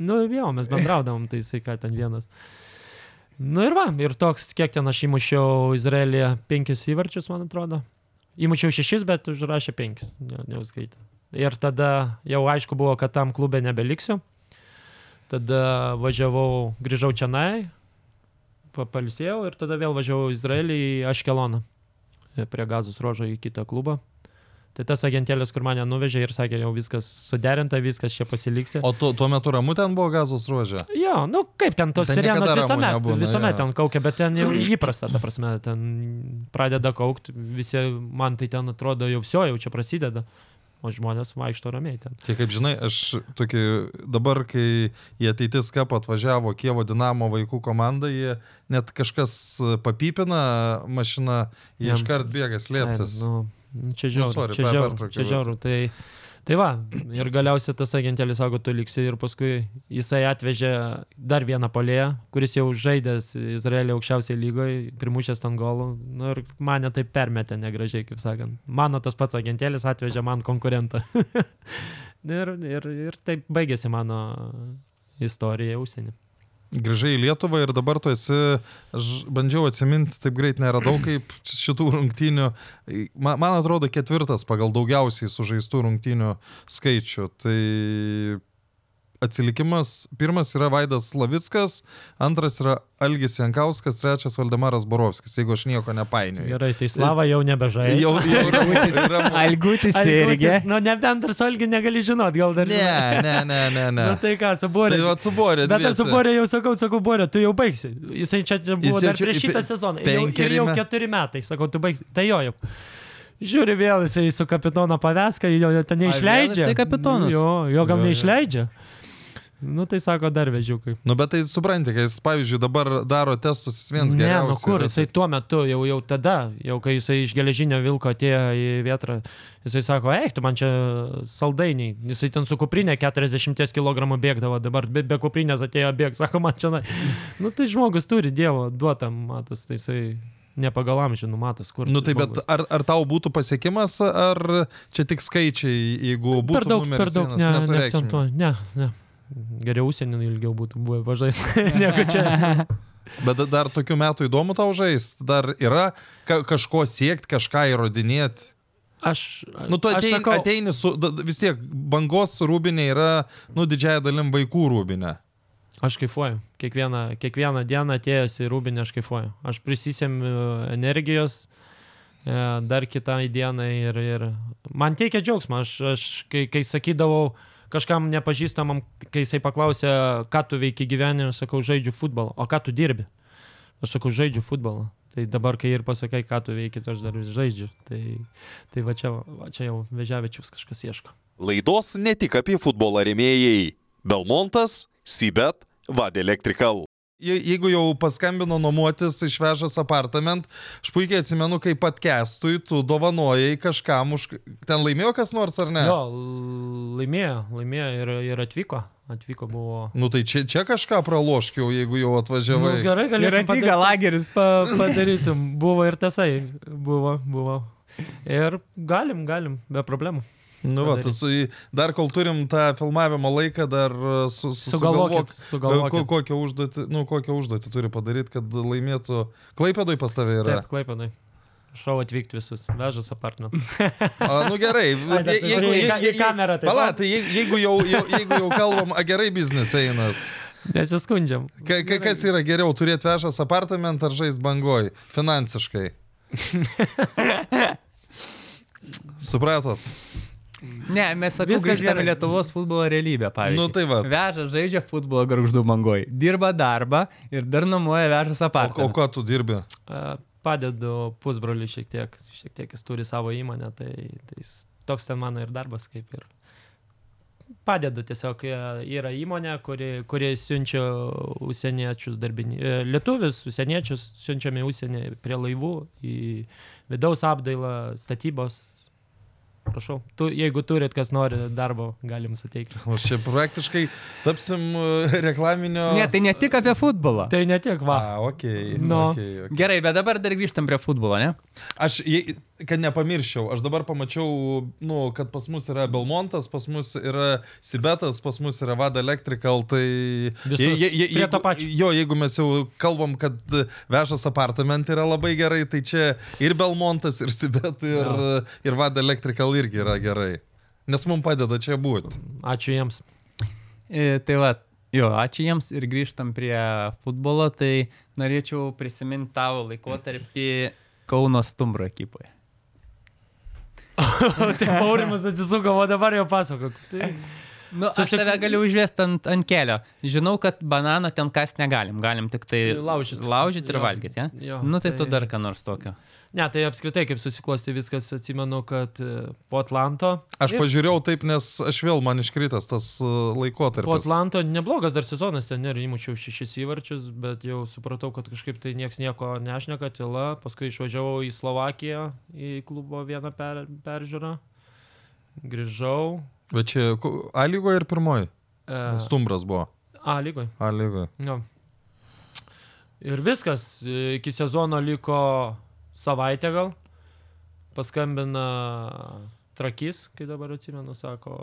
Speaker 3: Nu, jo, mes bendraudavom, tai jisai ką ten vienas. Nu ir va, ir toks, kiek ten aš įmušiau Izraelį, penkis įvarčius, man atrodo. Įmušiau šešis, bet užrašė penkis, ne, neuskaitė. Ir tada jau aišku buvo, kad tam klube nebeliksiu. Tada važiavau, grįžau čia nai, papalsėjau ir tada vėl važiavau į Izraelį į Aškeloną. e, Prie gazos rožo į kitą klubą. Tai tas agentėlis, kur mane nuvežė ir sakė, jau viskas suderinta, viskas čia pasiliksi.
Speaker 1: O tu, tuo metu ramu ten buvo gazos ruožė.
Speaker 3: Jo, nu kaip ten tos
Speaker 1: Ten
Speaker 3: sirenos
Speaker 1: niekada ramu
Speaker 3: visuomet,
Speaker 1: nebūna,
Speaker 3: visuomet
Speaker 1: jo.
Speaker 3: ten kaukia, bet ten jau įprasta, ta prasme, ten pradeda kaukti, visi man tai ten atrodo jau viso, jau čia prasideda, o žmonės vaikšto ramiai ten.
Speaker 1: Tai kaip žinai, aš tokį, dabar, kai į ateitis kapą atvažiavo Kievo Dinamo vaikų komanda, jie net kažkas e, papipina mašiną, jie
Speaker 3: Jam.
Speaker 1: iškart bėga slėptis.
Speaker 3: Ai, Nu, nu, čia
Speaker 1: sorry,
Speaker 3: žiauru,
Speaker 1: per-
Speaker 3: čia žiauru,
Speaker 1: pertraukiau,
Speaker 3: čia
Speaker 1: bet-
Speaker 3: žiauru. Tai, Tai va, ir galiausiai tas agentėlis sako, tu liksi ir paskui jisai atvežė dar vieną polėją, kuris jau žaidęs Izraelio aukščiausiai lygoje, primušęs Tongolų. Nu, ir mane tai permetė negražiai, kaip sakant. Mano tas pats agentėlis atvežė man konkurentą. ir, ir, ir taip baigėsi mano istorija užsienį.
Speaker 1: Grįžai į Lietuvą ir dabar tu esi, aš bandžiau atsiminti, taip greit neradau kaip šitų rungtynių, man, man atrodo, ketvirtas pagal daugiausiai sužaistų rungtynių skaičių. Tai atsilikimas, pirmas yra Vaidas Slavickas, antras yra Algis Jankauskas, trečias Valdemaras Borovskis, jeigu aš nieko nepainioju.
Speaker 3: Gerai, tai Slava jau nebežaidžia.
Speaker 1: Jau, jau yra...
Speaker 2: Algutis irgi.
Speaker 3: Nu, nebent dar su Algi negali žinot, gal dar
Speaker 1: Ne, ne, ne, ne, ne.
Speaker 3: Na tai ką,
Speaker 1: Tai
Speaker 3: suborė.
Speaker 1: jau atsiborė.
Speaker 3: Bet aš su Borė jau sakau, sakau, Borė, tu jau baigsi. Jisai čia čia buvo
Speaker 1: Jis jau
Speaker 3: dar
Speaker 1: čia
Speaker 3: prieš
Speaker 1: į
Speaker 3: šitą
Speaker 1: pe-
Speaker 3: sezoną. Jau, ir
Speaker 1: penkeri
Speaker 3: jau
Speaker 1: me-
Speaker 3: keturi metai, sakau, tu baigsi. Tai jo jau. Žiūri vėl jisai su kapitono paveską, jo jo ten
Speaker 5: vėl
Speaker 3: neišleidžia.
Speaker 5: jisai kapitonas.
Speaker 3: Jo, jo gal
Speaker 1: Jo, jo.
Speaker 3: neišleidžia. Nu tai sako dar vežiukai.
Speaker 1: Nu, bet tai supranti, kai jis, pavyzdžiui, dabar daro testus, jis vienas
Speaker 3: Ne,
Speaker 1: geriausias.
Speaker 3: nu kur, jisai
Speaker 1: tai-
Speaker 3: tuo metu, jau, jau tada, jau kai jisai iš geležinio vilko atėjo į vietrą, jisai sako, eik, tu man čia saldainiai, jisai ten su kuprinė 40 kg bėgdavo, dabar be, be kuprinės atėjo bėg, sako, man čia, na, nu tai žmogus turi dievo duotą, matas, tai jisai ne pagal amžių numatas, kur.
Speaker 1: Nu tai bet
Speaker 3: žmogus.
Speaker 1: ar, ar tau būtų pasiekimas, ar čia tik skaičiai, jeigu būtų
Speaker 3: per daug,
Speaker 1: numeris
Speaker 3: per daug, ne,
Speaker 1: vienas, nesureikšmini?
Speaker 3: neakcentuoju, ne, ne. Geriau užsienį ilgiau būtų buvę važais negu čia.
Speaker 1: Bet dar tokių metų įdomu tau žaisti, dar yra ka kažko siekti, kažką įrodinėti.
Speaker 3: Aš, aš,
Speaker 1: Nu, tu
Speaker 3: aš
Speaker 1: ateini,
Speaker 3: sakau,
Speaker 1: ateini su, da, da- vis tiek, bangos rūbinė yra, nu, didžiaja dalim vaikų rūbinė.
Speaker 3: Aš kaifuoju. Kiekvieną, kiekvieną dieną atėjęs į Rūbinę aš kaifuoju. Aš prisisėmiu energijos e, dar kitai dienai ir, ir man teikia džiaugsmą. Aš, aš kai, kai sakydavau kažkam nepažįstamam, kai jisai paklausė, ką tu veiki gyvenime, aš sakau, žaidžiu futbolą. O ką tu dirbi? Aš sakau, žaidžiu futbolą. Tai dabar, kai ir pasakai, ką tu veiki, tai aš dar vis žaidžiu. Tai, tai va, čia, va čia jau Vežiavičius kažkas ieško.
Speaker 7: Laidos ne tik apie futbolą rėmėjai - Belmontas, Sibet, Vad Electrical.
Speaker 1: Je, jeigu jau paskambino nuomotis, išvežęs apartament, aš puikiai atsimenu, kaip podcastui tu dovanojai kažkam už... Ten laimėjo kas nors ar ne?
Speaker 3: Jo, laimėjo, laimėjo ir, ir atvyko. Atvyko buvo
Speaker 1: Nu tai čia, čia kažką praloškiau, jeigu jau
Speaker 3: Nu,
Speaker 1: atvažiavai.
Speaker 3: gerai,
Speaker 2: Ir
Speaker 3: galėsim
Speaker 2: atvyka
Speaker 3: padaryti.
Speaker 2: lageris.
Speaker 3: Pa, padarysim. Buvo ir tasai. Buvo, buvo. Ir galim, galim, be problemų.
Speaker 1: Nu, va, tu, su,
Speaker 3: padaryt.
Speaker 1: dar kol turim tą filmavimo laiką, dar e, su, su, sugalvok,
Speaker 3: Sugalvokit,
Speaker 1: e, ko,
Speaker 3: sugalvokit.
Speaker 1: kokią, užduotį, nu, kokią užduotį turi padaryti, kad laimėtų. Klaipėdoj pas tave yra.
Speaker 3: Taip, klaipanai. Šau atvykti visus. Vežas apartment.
Speaker 1: A, nu gerai, bet
Speaker 3: bet
Speaker 1: je- jeigu...
Speaker 3: turi į
Speaker 1: je-
Speaker 3: ka- į
Speaker 1: je- je-
Speaker 3: kamerą taip
Speaker 1: Pala,
Speaker 3: pat.
Speaker 1: tai je- jeigu jau, jau, jeigu jau kalbam, a, gerai biznis einas.
Speaker 3: Nesiskundžiam.
Speaker 1: Ka, ka, kas yra geriau, turėti vežas apartamentą ar žaisti bangoj? Finansiškai. Supratot?
Speaker 2: Ne, mes sakome,
Speaker 3: Viskas
Speaker 2: viskas gerai
Speaker 3: gerai.
Speaker 2: Lietuvos futbolo realybė, pavyzdžiui.
Speaker 1: Nu, tai va.
Speaker 2: Veža žaidžia futbolo garždu mangoj, dirba darbą ir dar namuoja vežas
Speaker 1: O, o
Speaker 2: apartą.
Speaker 1: ko tu dirbi?
Speaker 3: A, E, Padedu pusbroliui šiek tiek. Šiek tiek jis turi savo įmonę. Tai, tai jis- toks ten mano ir darbas kaip ir. Padedu tiesiog, e, yra įmonė, kuri, kuri siunčia užsieniečius darbinius, lietuvius, užsieniečius, siunčiami į užsienį prie laivų, į vidaus apdailą, statybos. Prašau, tu, jeigu turit, kas nori darbo, galim suteikti.
Speaker 1: Aš čia praktiškai tapsim e, reklaminio.
Speaker 2: Ne, tai ne tik apie futbolą.
Speaker 3: Tai ne tiek va.
Speaker 1: A, okei.
Speaker 3: No.
Speaker 1: okei, okei.
Speaker 2: Gerai, bet dabar dar grįžtam prie futbolo, ne?
Speaker 1: Aš, jei- kad nepamirščiau, aš dabar pamačiau, nu, kad pas mus yra Belmontas, pas mus yra Sibetas, pas mus yra Vada Electrical, tai...
Speaker 3: Visus prie
Speaker 1: jeigu,
Speaker 3: to pačio.
Speaker 1: Jo, jeigu mes jau kalbam, kad e, vežas apartament yra labai gerai, tai čia ir Belmontas, ir Sibet, ir,
Speaker 3: Jo.
Speaker 1: ir Vada Electrical irgi yra gerai. Nes mums padeda čia būti.
Speaker 3: Ačiū jiems.
Speaker 2: E, Tai va, jo, ačiū jiems ir grįžtam prie futbolo, tai norėčiau prisiminti tavo laikotarpį Kauno Stumbro ekipoje.
Speaker 3: Tai Paurimas atsisuko, o dabar jau pasakok. Tai...
Speaker 2: Nu, aš
Speaker 3: Susi-
Speaker 2: tave galiu užvesti ant, ant kelio. Žinau, kad banano ten kas negalim, galim tik tai
Speaker 3: Laužyt.
Speaker 2: laužyt ir
Speaker 3: Jo,
Speaker 2: valgyti. Ja?
Speaker 3: jo,
Speaker 2: nu, tai, tai tu
Speaker 3: tai-
Speaker 2: dar ką nors tokio.
Speaker 3: Ne, tai apskritai kaip susiklosti viskas, atsimenu, kad e, po Atlanto.
Speaker 1: Aš
Speaker 3: Ir
Speaker 1: pažiūrėjau taip, nes aš vėl man iškritas tas e, laikotarpis.
Speaker 3: Po Atlanto neblogas dar sezonas ten ir įmučiau šešis įvarčius, bet jau supratau, kad kažkaip tai nieks nieko nešneka, tyla. Paskui išvažiavau į Slovakiją į klubo vieną per, peržiūrą. grįžau.
Speaker 1: Bet čia ku- A lygoje ir pirmoji.
Speaker 3: E,
Speaker 1: Stumbras buvo.
Speaker 3: A lygoje.
Speaker 1: A lygoje.
Speaker 3: Jo. Ir viskas, e, iki sezono liko savaitė gal. Paskambina Trakys, kai dabar atsimenu, sako,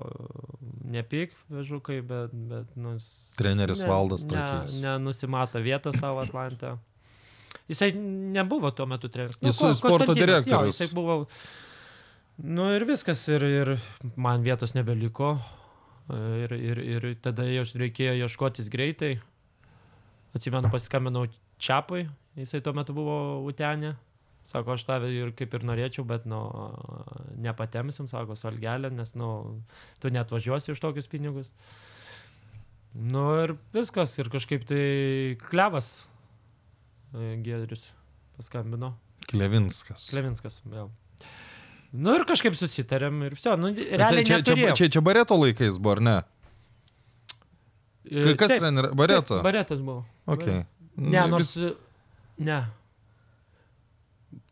Speaker 3: nepyk, vežukai, bet... bet nu, s-
Speaker 1: Treneris
Speaker 3: ne-
Speaker 1: Valdas
Speaker 3: ne-
Speaker 1: Trakys.
Speaker 3: Nenusimato vietos tavo Atlantą. Jisai nebuvo tuo metu treneris. Nu,
Speaker 1: Jis
Speaker 3: ko-
Speaker 1: sporto
Speaker 3: Konstantinas, jo,
Speaker 1: direktorius.
Speaker 3: Jisai buvo... Nu ir viskas, ir, ir man vietos nebeliko. Ir, ir, ir tada jos reikėjo ieškotis greitai. Atsimenu, pasiskambinau Čiapui, jisai tuo metu buvo Utenė. Sako, aš tave ir kaip ir norėčiau, bet, nu, nepatemsim, sako, salgelė, nes, nu, tu net važiuosi už tokius pinigus. Nu ir viskas, ir kažkaip tai klevas e, Giedrius paskambino.
Speaker 1: Klevinskas.
Speaker 3: Klevinskas, vėl. Nu ir kažkaip susitarėm ir viso. Nu,
Speaker 1: Bet
Speaker 3: realiai
Speaker 1: tai čia, čia, čia, čia Bareto laikais buvo, ar ne? Ka- Kas treneris? Bareto.
Speaker 3: E,
Speaker 1: Nu,
Speaker 3: Baretas buvo.
Speaker 1: Okay.
Speaker 3: Ne, nors. e, Ne.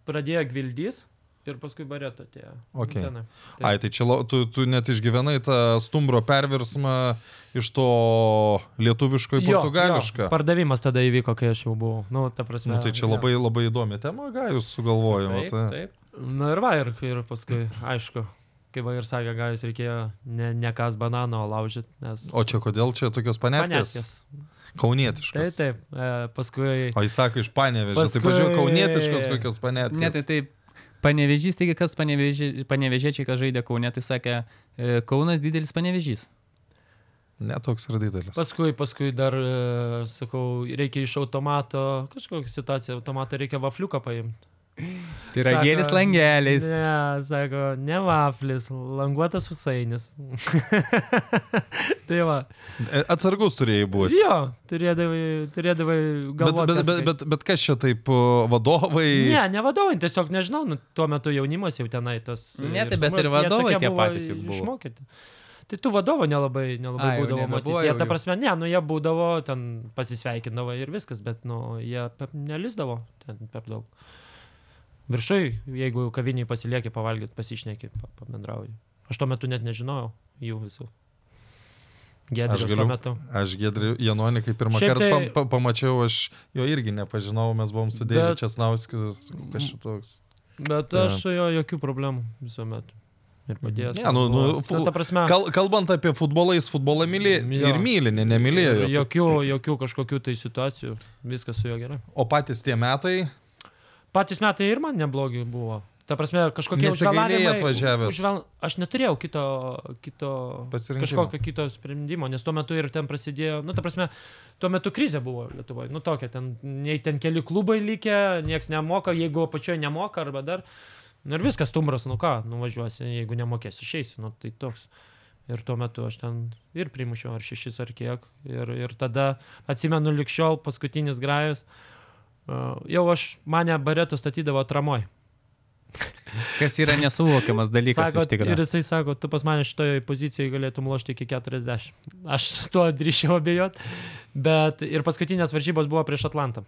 Speaker 3: Pradėjo Gvildys ir paskui Bareto atėjo.
Speaker 1: Okei.
Speaker 3: Tenai. taip.
Speaker 1: Ai, tai čia lau- tu, tu net išgyvenai tą stumbro perversmą iš to lietuviško į
Speaker 3: Jo,
Speaker 1: portugališką.
Speaker 3: jo, Pardavimas tada įvyko, kai aš jau buvau. Nu, ta prasme.
Speaker 1: Nu, tai čia labai, labai įdomi tema, ką jūs sugalvojate.
Speaker 5: Taip, taip.
Speaker 3: Na Nu, ir va, ir, ir paskui, aišku, kaip va ir sakė, gajus reikėjo ne, ne kas banano laužyti, nes...
Speaker 1: O čia kodėl čia tokios panetės?
Speaker 3: Panetkės. Taip,
Speaker 1: Kaunietiškos.
Speaker 3: taip. E, paskui
Speaker 1: O jis sako iš panevėžio, Paskui...
Speaker 3: Paskui-
Speaker 1: tai pažiūrėjau, kaunietiškos kokios panetės.
Speaker 2: Ne, tai taip. Panevežys, taigi kas paneveži- panevežiečiai, kas žaidė Kaune, tai sakė, e, Kaunas didelis panevežys.
Speaker 1: Netoks ir didelis. Pas...
Speaker 3: Paskui, paskui dar, e, sakau, reikia iš automato, kažkokią situaciją, automato reikia vafliuką paimti.
Speaker 2: Tai yra gėlis langeliais.
Speaker 3: Ne, sako, ne vaflis, languotas susainis. tai va.
Speaker 1: E, Atsargus turėjai būti.
Speaker 3: Jo, turėdavai, turėdavai
Speaker 1: Bet,
Speaker 3: galvoti.
Speaker 1: bet, bet, bet, bet kas čia taip o, vadovai?
Speaker 2: Tai-
Speaker 3: Ne, ne vadovai, tiesiog nežinau, nu, tuo metu jaunimas jau tenai tas. e,
Speaker 2: Ne,
Speaker 3: ir
Speaker 2: tai bet
Speaker 3: žmo-
Speaker 2: ir
Speaker 3: jie
Speaker 2: vadovai
Speaker 3: tokie
Speaker 2: tie
Speaker 3: buvo
Speaker 2: patys juk buvo.
Speaker 3: Išmokyti. Tai tų vadovų nelabai, nelabai
Speaker 2: Ai, jau
Speaker 3: būdavo
Speaker 2: nebebuvo
Speaker 3: matyti. Jie,
Speaker 2: jau
Speaker 3: ta
Speaker 2: jų.
Speaker 3: prasme, ne, nu jie būdavo, ten pasisveikindavo ir viskas, bet, nu, jie pep, nelizdavo ten per daug. Viršui, jeigu kaviniai pasilieki pavalgyti, pasišneki, pa- pabendrauji. Aš tuo metu net nežinojau jų visų. Gėdžiu tuo
Speaker 1: galiu-
Speaker 3: metu.
Speaker 1: Aš Gedriu Janonį, kai pirmą
Speaker 3: Šiaip
Speaker 1: kartą
Speaker 3: tai-
Speaker 1: pa, pa, pamačiau, aš jo irgi nepažinau, mes buvom su Dėviu
Speaker 3: Bet-
Speaker 1: bet... Česnauskiu, sakau, kas šitoks.
Speaker 3: Bet
Speaker 1: Jo.
Speaker 3: aš su jo jokių problemų visuomet. Ir padėjęs.
Speaker 1: Ne, nu, nu,
Speaker 3: Ta, ta prasme,
Speaker 1: Kal, kalbant apie futbolą, jis futbolą mylė
Speaker 3: Jo.
Speaker 1: ir myli, ne, nemylėjo.
Speaker 3: Ir
Speaker 1: jo.
Speaker 3: Jokių, jokių kažkokių tai situacijų, viskas su juo gerai.
Speaker 1: O patys tie metai,
Speaker 3: Patys metai ir man neblogi buvo. Ta prasme, kažkokie
Speaker 1: Nesigailėjai
Speaker 3: užgalavimai-
Speaker 1: atvažiavęs?
Speaker 3: Užvel... Aš neturėjau kito, kito
Speaker 1: Pasirinkimo.
Speaker 3: kažkokio kito sprendimo, nes tuo metu ir ten prasidėjo, nu, ta prasme, tuo metu krizė buvo Lietuvoje, nu, tokia, ten, nei ten keli klubai likę, nieks nemoka, jeigu pačioje nemoka arba dar. Nu, ir viskas, tumbras, nu ką, nuvažiuosi, jeigu nemokėsi, išeisi, nu, tai toks. Ir tuo metu aš ten ir primušiau, ar šešis, ar kiek. Ir, ir tada atsimenu likščiol paskutinis grajus. Uh, jau aš mane baretų statydavo atramoj.
Speaker 2: Kas yra nesuvokiamas dalykas
Speaker 3: sako,
Speaker 2: iš tikrųjų.
Speaker 3: ir jisai sako, tu pas mane šitoje pozicijoje galėtum lošti iki 40. Aš su tuo drįšiau abejot. Bet ir paskutinės varžybos buvo prieš Atlantą.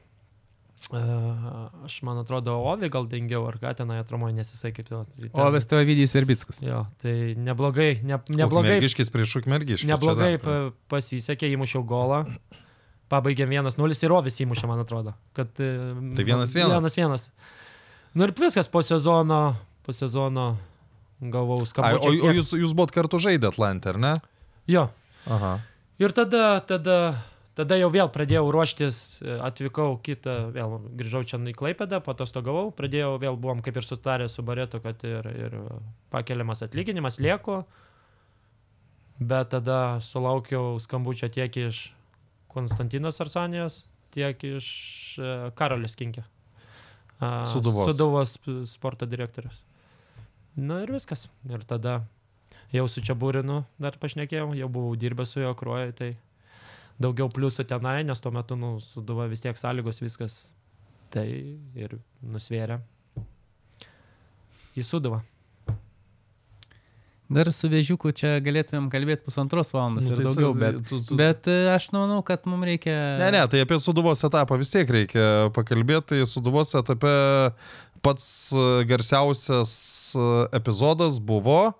Speaker 3: Uh, aš man atrodo, Ovi gal dengiau ar ką tenai atramoje, nes jisai kaip ten. ten-
Speaker 2: O vis tavo Vidijas Verbickas.
Speaker 3: Jo, tai neblogai, ne, neblogai
Speaker 1: Mergiškis prieš Ukmergiškį.
Speaker 3: Neblogai pa, pasisekė, įmušiau golą. Pabaigėm 1-0 ir Rovis įmušė, man atrodo. Kad,
Speaker 1: Tai
Speaker 3: tai
Speaker 1: 1:1.
Speaker 3: 1-1. Nu ir viskas po sezono, po sezono gavau
Speaker 1: Ai,
Speaker 3: skambučių.
Speaker 1: o o jūs, jūs buvot kartu žaidę Atlantą, ar ne?
Speaker 3: Jo.
Speaker 1: Aha.
Speaker 3: Ir tada, tada, tada jau vėl pradėjau ruoštis, e, atvykau kitą, vėl grįžau čia į Klaipėdą, patostogavau, pradėjau vėl buvom kaip ir sutarę su Baretu, kad ir, ir pakeliamas atlyginimas lieku. Bet tada sulaukiau skambučio tiek iš Konstantinos Arsanijos, tiek iš e, Karolės Kinkė. A,
Speaker 1: Sūduvos.
Speaker 3: Sūduvos sp- sporto direktorius. Na ir viskas. Ir tada jau su čia būrinu dar pašnekėjau, jau buvau dirbęs su jo kruoju, tai daugiau pliusų tenai, nes tuo metu nu, suduva vis tiek sąlygos viskas. Tai ir nusvėrė. Į suduvą.
Speaker 2: Dar su Vėžiuku čia galėtumėm kalbėti pusantros valandos
Speaker 1: Nu,
Speaker 2: ir
Speaker 1: tai
Speaker 2: daugiau,
Speaker 1: sa-
Speaker 2: bet,
Speaker 1: tu- tu-
Speaker 2: bet e, aš manau, kad mums reikia...
Speaker 1: Ne, ne, tai apie suduvos etapą vis tiek reikia pakalbėti. Tai suduvos etape pats e, garsiausias e, epizodas buvo e,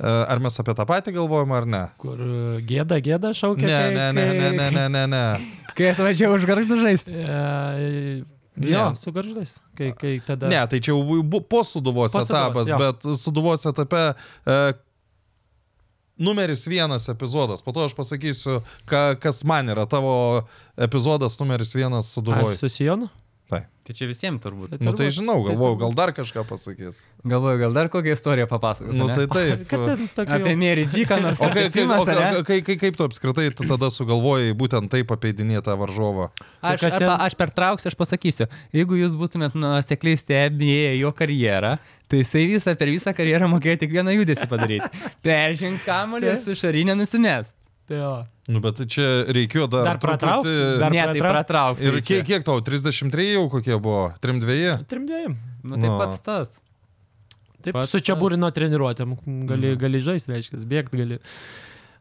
Speaker 1: E, Ar mes apie tą patį galvojam ar ne?
Speaker 3: Kur e, gėda, gėda šaukia.
Speaker 1: Ne,
Speaker 3: kai-
Speaker 1: ne, ne,
Speaker 3: kai-
Speaker 1: ne, ne, ne, ne, ne.
Speaker 2: Kai atvažiavau už garždų žaisti.
Speaker 3: E, Jo,
Speaker 1: Ne.
Speaker 3: su garždais. Kai, kai tada...
Speaker 1: Ne, tai čia jau bu- po suduvos
Speaker 3: Po Sūduvos,
Speaker 1: etapas,
Speaker 3: jo.
Speaker 1: bet suduvos etape e, numeris vienas epizodas. Po to aš pasakysiu, ka, kas man yra tavo epizodas numeris vienas
Speaker 3: Ar
Speaker 1: suduvoj.
Speaker 3: su Sijonu?
Speaker 5: Tai čia visiems turbūt.
Speaker 1: Nu tai žinau,
Speaker 3: Tai
Speaker 1: galvoju,
Speaker 3: turbūt.
Speaker 1: gal dar kažką pasakys.
Speaker 2: Galvoju, gal dar kokią istoriją papasakos.
Speaker 1: Nu tai
Speaker 3: Ar
Speaker 1: taip.
Speaker 3: Kad ten tokia...
Speaker 2: Apie Mary G. ką nors.
Speaker 1: O kai,
Speaker 2: apie
Speaker 1: kai,
Speaker 2: Simą,
Speaker 1: o kai,
Speaker 2: ane?
Speaker 1: kai, kai, kaip tu apskritai tu tada sugalvojai būtent taip apeidinėti tą varžovą?
Speaker 2: Aš,
Speaker 3: Tai kad
Speaker 2: arba,
Speaker 3: ten-
Speaker 2: aš pertrauksiu, aš pasakysiu. Jeigu jūs būtumėt nuosekliai stebėję jo karjerą, tai jisai visą per visą karjerą mokėjo tik vieną judesį padaryti. Peržink kamuolį ir su šarinė nusimest.
Speaker 3: Tai jo.
Speaker 1: Nu bet čia reikėjo dar,
Speaker 3: Dar pratraukt?
Speaker 1: truputį-
Speaker 3: Dar
Speaker 2: ne, tai
Speaker 3: pratra-
Speaker 2: pratraukti.
Speaker 1: Ir kiek, kiek tau, 33 jau kokie buvo? 32?
Speaker 3: Trim dviem.
Speaker 2: Nu, tai
Speaker 1: Nu.
Speaker 2: pats tas.
Speaker 3: Taip,
Speaker 5: Pats
Speaker 3: su čia būrino treniruotėm.
Speaker 5: Mm.
Speaker 3: Gali, gali žaisti, reiškia, bėgti gali.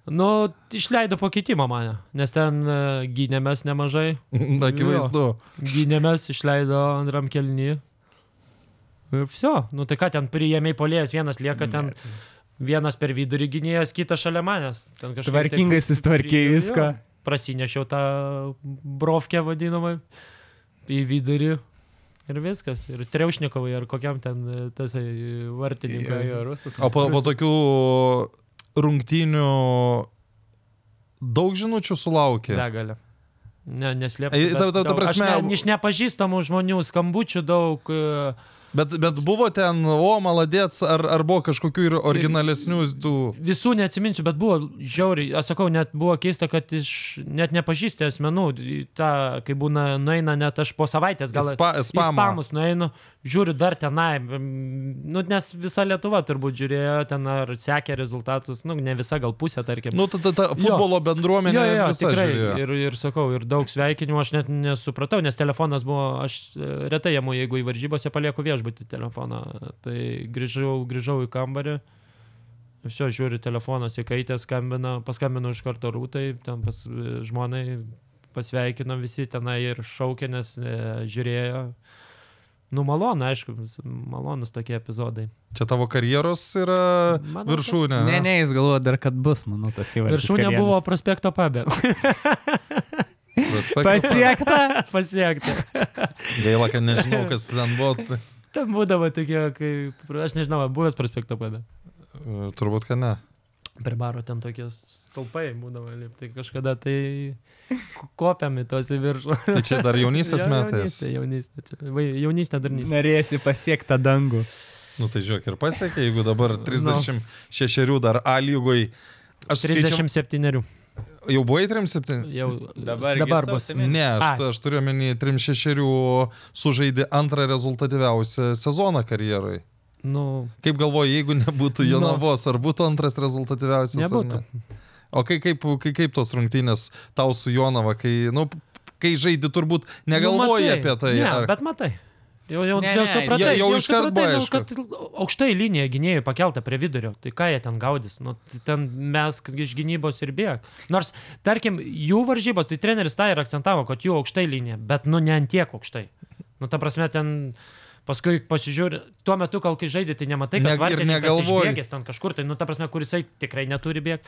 Speaker 3: Nu, išleido po kitimo mane, nes ten e, gynėmės nemažai.
Speaker 1: Na, akivaizdu.
Speaker 3: Gynėmės, išleido antram kelnį. Ir viso. Nu tai ką ten priėmė polėjas, vienas lieka ten,
Speaker 1: tai-
Speaker 3: vienas per vidurį gynėjas, kitas šalia manęs. Ten kažkaip taip
Speaker 2: Tvarkingai susitvarkė
Speaker 3: prižiūrėjo.
Speaker 2: viską.
Speaker 3: Prasinešiau tą brovkę vadinamą į vidurį. Ir viskas. Ir Treušnikovai, ar kokiam ten e, tas vartininkas.
Speaker 1: O po, po tokių rungtynių daug žinučių sulaukė.
Speaker 3: Begalė. Ne, neslėpsiu.
Speaker 1: Ei, ta-
Speaker 3: bet
Speaker 1: ta- ta
Speaker 3: daug- aš
Speaker 1: prasme-
Speaker 3: ne, iš nepažįstamų žmonių skambučių daug. e,
Speaker 1: Bet, bet buvo ten, o, maladėts, ar, ar buvo kažkokių ir originalesnių tų...
Speaker 3: Visų neatsiminsiu, bet buvo žiauriai, aš sakau, net buvo keista, kad iš net nepažįsti asmenų, į tą, kai būna, nueina net aš po savaitės, gal
Speaker 1: Į spa-
Speaker 3: į
Speaker 1: spamą.
Speaker 3: spamus nueinu, žiūriu dar tenai, mm, nu, nes visa Lietuva turbūt žiūrėjo ten ar sekė rezultatus, nu, ne visa, gal pusė, tarkim.
Speaker 1: Nu, tada ta futbolo bendruomenė
Speaker 3: Jo, jo,
Speaker 1: visa
Speaker 3: tikrai.
Speaker 1: žiūrėjo.
Speaker 3: Ir, ir sakau, ir daug sveikinimų aš net nesupratau, nes telefonas buvo, aš e, retai jamu, jeigu į varžybose palieku viešbutį telefoną, tai grįžau, grįžau į kambarį. Visio, žiūri, telefonas įkaitė, skambina, paskambino iš karto rūtai, ten pas e, žmonai pasveikino visi tenai ir šaukė, nes e, žiūrėjo. Nu, malonu, aišku, vis- malonus tokie epizodai.
Speaker 1: Čia tavo karjeros yra
Speaker 3: Manau, kad-
Speaker 1: viršūnė.
Speaker 2: Ne, ne, jis galvoja dar, kad bus, manau, tas įvartis.
Speaker 3: Viršūnė
Speaker 2: karjeros.
Speaker 3: buvo prospekto pabė.
Speaker 1: Respektas.
Speaker 2: pasiekta.
Speaker 3: Pasiekti.
Speaker 1: Gaila, kad nežinau, kas ten buvo. tai,
Speaker 3: Ten būdavo tokie, kaip, aš nežinau, ar buvęs prospekto pėda.
Speaker 1: e, Turbūt, kad ne.
Speaker 3: Per baro ten tokie stulpai būdavo, lipti kažkada tai ko- kopiam į tos į viršų.
Speaker 1: Tai čia dar jaunystės
Speaker 3: Jo,
Speaker 1: metais.
Speaker 3: Jaunystė, jaunystė, čia- vai- jaunystė dar nys.
Speaker 2: Norėsi pasiektą dangų.
Speaker 1: Nu tai žiūrėk ir pasiekė, jeigu dabar 36 dar A lygoj. Aš skaičiam,
Speaker 3: 37.
Speaker 1: jau buvai 37?
Speaker 3: Jau
Speaker 5: Dabar gi
Speaker 3: dabar
Speaker 5: sausio
Speaker 3: bus.
Speaker 5: mėnesį.
Speaker 1: Ne, aš,
Speaker 3: Ai.
Speaker 1: aš turiu omeny 36 sužaidė antrą rezultatyviausią sezoną karjerai.
Speaker 3: Nu,
Speaker 1: Kaip galvoji, jeigu nebūtų
Speaker 3: Nu.
Speaker 1: Jonavos, ar būtų antras rezultatyviausias? ar
Speaker 3: nebūtų.
Speaker 1: ne? O kai, kaip, kai, kaip tos rungtynės tau su Jonava, kai, nu, kai žaidži turbūt negalvoji nu,
Speaker 3: Nu, matai.
Speaker 1: apie tai.
Speaker 3: Ne,
Speaker 1: ar...
Speaker 3: bet matai. Jau, jau,
Speaker 2: Ne,
Speaker 3: jau
Speaker 2: ne,
Speaker 3: supratai,
Speaker 1: jau- jau iškart
Speaker 3: iškart
Speaker 1: buvo
Speaker 3: nu, kad aukštai linija gynėjai pakelta prie vidurio, tai ką jie ten gaudys, nu, tai ten mes iš gynybos ir bėg. Nors, tarkim, jų varžybos, tai treneris tą ir akcentavo, kad jų aukštai linija, bet nu ne ant tiek aukštai. Nu, ta prasme, ten paskui pasižiūri, tuo metu, kol kai žaidė, tai nematai, kad
Speaker 1: Neg- ir
Speaker 3: vartininkas
Speaker 1: negalvoji.
Speaker 3: išbėgęs ten kažkur, tai, nu, ta prasme, kur jisai tikrai neturi bėgti.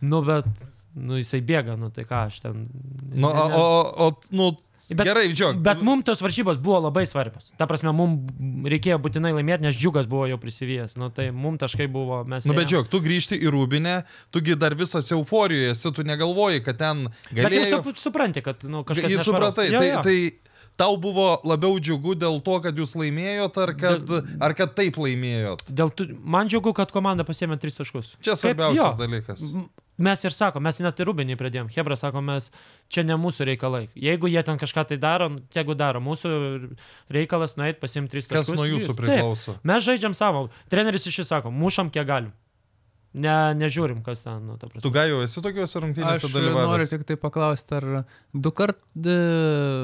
Speaker 3: Nu, bet, nu, jisai bėga, nu, tai ką aš ten.
Speaker 1: Nu, o, o, o, nu, bet, gerai, nu, džiog.
Speaker 3: Bet mums tos varžybos buvo labai svarbios. Ta prasme, mums reikėjo būtinai laimėti, nes džiugas buvo jau prisivijęs. Nu, tai mums taškai buvo, mes...
Speaker 1: Nu, bet
Speaker 3: ėjom.
Speaker 1: žiūrėk, tu grįžti į Rūbinę, tugi dar visas euforijoje esi, tu negalvoji, kad ten
Speaker 3: Bet jau
Speaker 1: galėjai.
Speaker 3: sup, supranti, kad nu, kažkas...
Speaker 1: Jis
Speaker 3: nešvaraus.
Speaker 1: supratai,
Speaker 3: Jo,
Speaker 1: tai,
Speaker 3: jo.
Speaker 1: tai tau buvo labiau džiugu dėl to, kad jūs laimėjot, ar kad, ar kad taip laimėjot.
Speaker 3: Dėl tų, man džiugu, kad komanda pasiemė tris taškus.
Speaker 1: Čia
Speaker 3: Kaip-
Speaker 1: svarbiausias
Speaker 3: jo.
Speaker 1: dalykas.
Speaker 3: M- Mes ir sakom, mes net ir rūbinį pradėjom. Hebra sako, mes čia ne mūsų reikalai. Jeigu jie ten kažką tai daro, nu, tegu daro. Mūsų reikalas nueiti pasimti tris taškus.
Speaker 1: Kas nuo
Speaker 3: ir
Speaker 1: jūsų
Speaker 3: viskas. Taip.
Speaker 1: priklauso?
Speaker 3: Mes žaidžiam savo. Treneris iš jų sako, mušam kiek galim. Ne, nežiūrim, kas ten. Nu, ta prasme.
Speaker 1: Tu gai jau esi tokiuose
Speaker 2: Aš
Speaker 1: rungtynėse
Speaker 2: e, noriu
Speaker 1: dalyvavęs.
Speaker 2: tik tai paklausti, ar du kart e,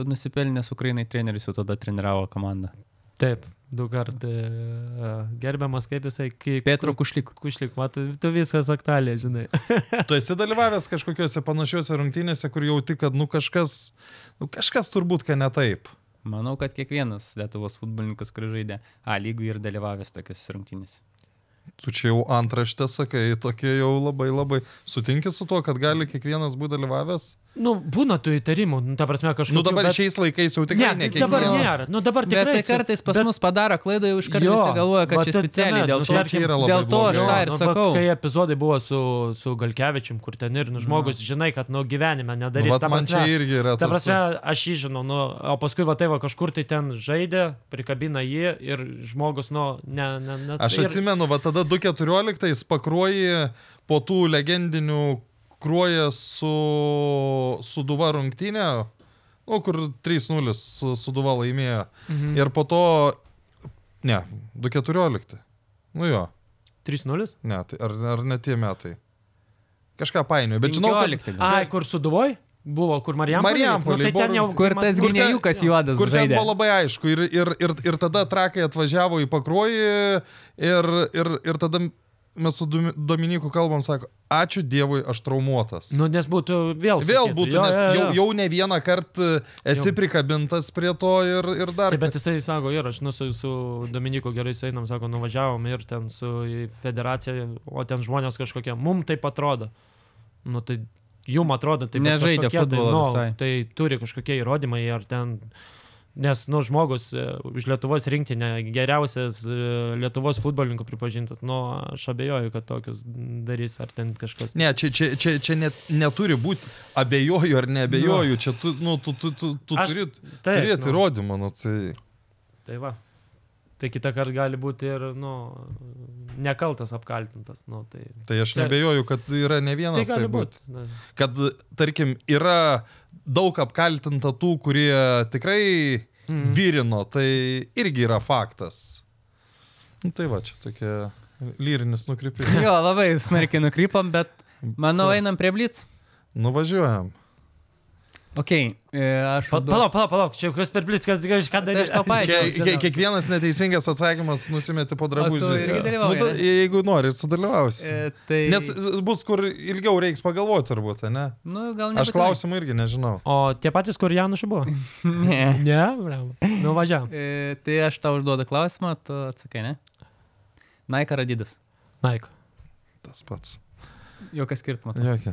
Speaker 2: nusipelnęs Ukrainai treneris jau tada treniravo komandą.
Speaker 3: Taip, du kart e, gerbiamas, kaip jisai, kaip
Speaker 2: Petro Kušlik.
Speaker 3: kušlik, matai, tu viskas aktualiai, žinai.
Speaker 1: Tu esi dalyvavęs kažkokiuose panašiuose rungtynėse, kur jau tik, kad nu kažkas, nu kažkas turbūt, kad ne taip.
Speaker 2: Manau, kad kiekvienas Lietuvos futbolininkas, kuris žaidė A lygų ir dalyvavęs tokias rungtynės.
Speaker 1: Tu čia jau antraštę sakai, tokie jau labai labai. Sutinki su tuo, kad gali kiekvienas būti dalyvavęs?
Speaker 3: Nu, būna tų įtarimų, nu, ta prasme kažkas.
Speaker 1: Nu dabar bet... šiais laikais jau tikrai ne
Speaker 3: ne, tai dabar
Speaker 1: kiekvienas.
Speaker 3: nėra. Nu, dabar
Speaker 5: Bet
Speaker 3: tikrai.
Speaker 5: tai kartais pas
Speaker 3: bet-
Speaker 5: mus padaro klaidą, jau iš karto
Speaker 3: Jo,
Speaker 5: visi galvoja,
Speaker 3: va
Speaker 5: kad čia
Speaker 3: ta-
Speaker 5: specialiai.
Speaker 3: tame,
Speaker 5: Dėl
Speaker 3: nu,
Speaker 5: to,
Speaker 1: čia yra labai
Speaker 5: dėl to aš
Speaker 1: blogai.
Speaker 5: tą ir
Speaker 3: nu, va,
Speaker 5: sakau.
Speaker 3: kai epizodai buvo su, su Galkevičium, kur ten ir nu, žmogus, žinai, kad nu, gyvenime nedarė.
Speaker 1: Vat man čia irgi yra
Speaker 3: Ta
Speaker 1: tas.
Speaker 3: prasme, aš jį žinau, nu, o paskui va tai va kažkur tai ten žaidė, prikabina jį ir žmogus, nu, ne, ne, ne.
Speaker 1: Aš
Speaker 3: ir-
Speaker 1: atsimenu, va tada 2.14 pakruoji po tų legendinių kruoja su Suduva rungtinė, nu, kur 3-0 su- Suduva laimėjo. Mhm. Ir po to, ne, 2.14. Nu jo,
Speaker 3: 3-0?
Speaker 1: ne, tai ar, ar ne tie metai. Kažką painioju, bet žinau, kad
Speaker 5: 15
Speaker 3: Ai, kur suduvoj? Buvo, kur Marijam.
Speaker 1: Tai nu, Marijampolėj,
Speaker 3: nu, tai ten
Speaker 1: buvo-
Speaker 3: jau.
Speaker 2: Kur
Speaker 3: man-
Speaker 2: tas
Speaker 3: kur ten-
Speaker 2: gynėjukas juodas
Speaker 1: Kur ten
Speaker 2: žaidė?
Speaker 1: buvo labai aišku. Ir, ir, ir, ir tada trakai atvažiavo į pakruojį ir, ir, ir tada mes su Dumi- Dominiku kalbam, sako, ačiū Dievui, aš traumuotas.
Speaker 3: Nu, nes būtų vėl.
Speaker 1: Vėl
Speaker 3: sakytų,
Speaker 1: būtų,
Speaker 3: jo,
Speaker 1: nes jau,
Speaker 3: jo, jo.
Speaker 1: jau ne vieną kartą esi
Speaker 3: Jo.
Speaker 1: prikabintas prie to ir, ir dar.
Speaker 3: Taip, bet jisai sako, ir aš nu, su, su Dominiku gerai einam, sako, nuvažiavom ir ten su į federacija, o ten žmonės kažkokie, mum tai atrodo. Nu, tai jum atrodo, tai
Speaker 2: Nežaidė futbolo
Speaker 3: tai,
Speaker 2: visai.
Speaker 3: nu, tai turi kažkokie įrodymai, ar ten... Nes, nu, žmogus e, už Lietuvos rinktinę geriausias e, Lietuvos futbolininkų pripažintas, nu, aš abejoju, kad tokius darys, ar ten kažkas.
Speaker 1: Ne, čia, čia, čia, čia net, neturi būti abejoju ar neabejoju, čia tu, nu, tu, tu, tu, tu
Speaker 3: Aš-
Speaker 1: turi
Speaker 3: taip,
Speaker 1: turėti
Speaker 3: nu.
Speaker 1: įrodymą. Nu, tai...
Speaker 3: Tai va. Tai kitą kartą gali būti ir, nu, nekaltas apkaltintas, nu, tai...
Speaker 1: tai aš
Speaker 3: Čia-
Speaker 1: neabejoju, kad yra ne
Speaker 3: Tai
Speaker 1: vienas.
Speaker 3: gali
Speaker 1: taip
Speaker 3: būti. Na.
Speaker 1: kad, tarkim, yra daug apkaltinta tų, kurie tikrai
Speaker 3: Mhm.
Speaker 1: mm. vyrino, tai irgi yra faktas. Nu, tai va, čia tokie lyrinis nukrypimas.
Speaker 2: Jo, labai smarkiai nukrypom, bet manau, einam prie blitz.
Speaker 1: Nu, Nuvažiuojam.
Speaker 2: Ok, e, aš
Speaker 3: Pa-
Speaker 2: užduosiu-
Speaker 3: Palauk, palauk, palauk, čia kas per blitz, kas kas- ką
Speaker 2: Tai aš
Speaker 3: daryti.
Speaker 2: tau
Speaker 1: Čia,
Speaker 2: paaiškinsiu.
Speaker 1: kie- kiekvienas neteisingas atsakymas nusimeti po drabužį.
Speaker 2: irgi dalyvauji,
Speaker 1: nu, ta,
Speaker 2: ne?
Speaker 1: jeigu nori, sudalyvausi.
Speaker 2: E, Tai...
Speaker 1: Nes bus, kur ilgiau reiks pagalvoti, turbūt, ne?
Speaker 2: nu, gal
Speaker 1: Aš
Speaker 2: nebūtinai.
Speaker 1: klausimą irgi nežinau.
Speaker 3: O tie patys, kur Janušai buvo?
Speaker 2: Ne.
Speaker 3: Ne, blam. Nu važiavam.
Speaker 2: E, tai aš tau užduodu klausimą, tu atsakai, ne? Naika Radydas.
Speaker 3: Naik.
Speaker 1: Tas pats.
Speaker 2: Jokas skirtumas.
Speaker 1: Jokia.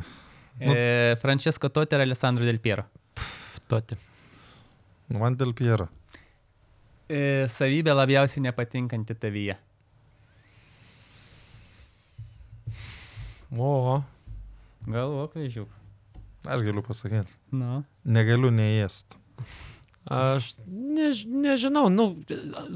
Speaker 1: nu-
Speaker 2: E, Francesco Totti ir Alessandro Del Piero.
Speaker 3: Toti.
Speaker 1: Nu, man dėl Piero.
Speaker 2: E, savybė labiausiai nepatinkanti tavyje.
Speaker 3: O,
Speaker 2: Galvok, vėžiuk.
Speaker 1: Aš galiu pasakyti.
Speaker 2: Nu.
Speaker 1: Negaliu neėst.
Speaker 3: aš než, nežinau, nu,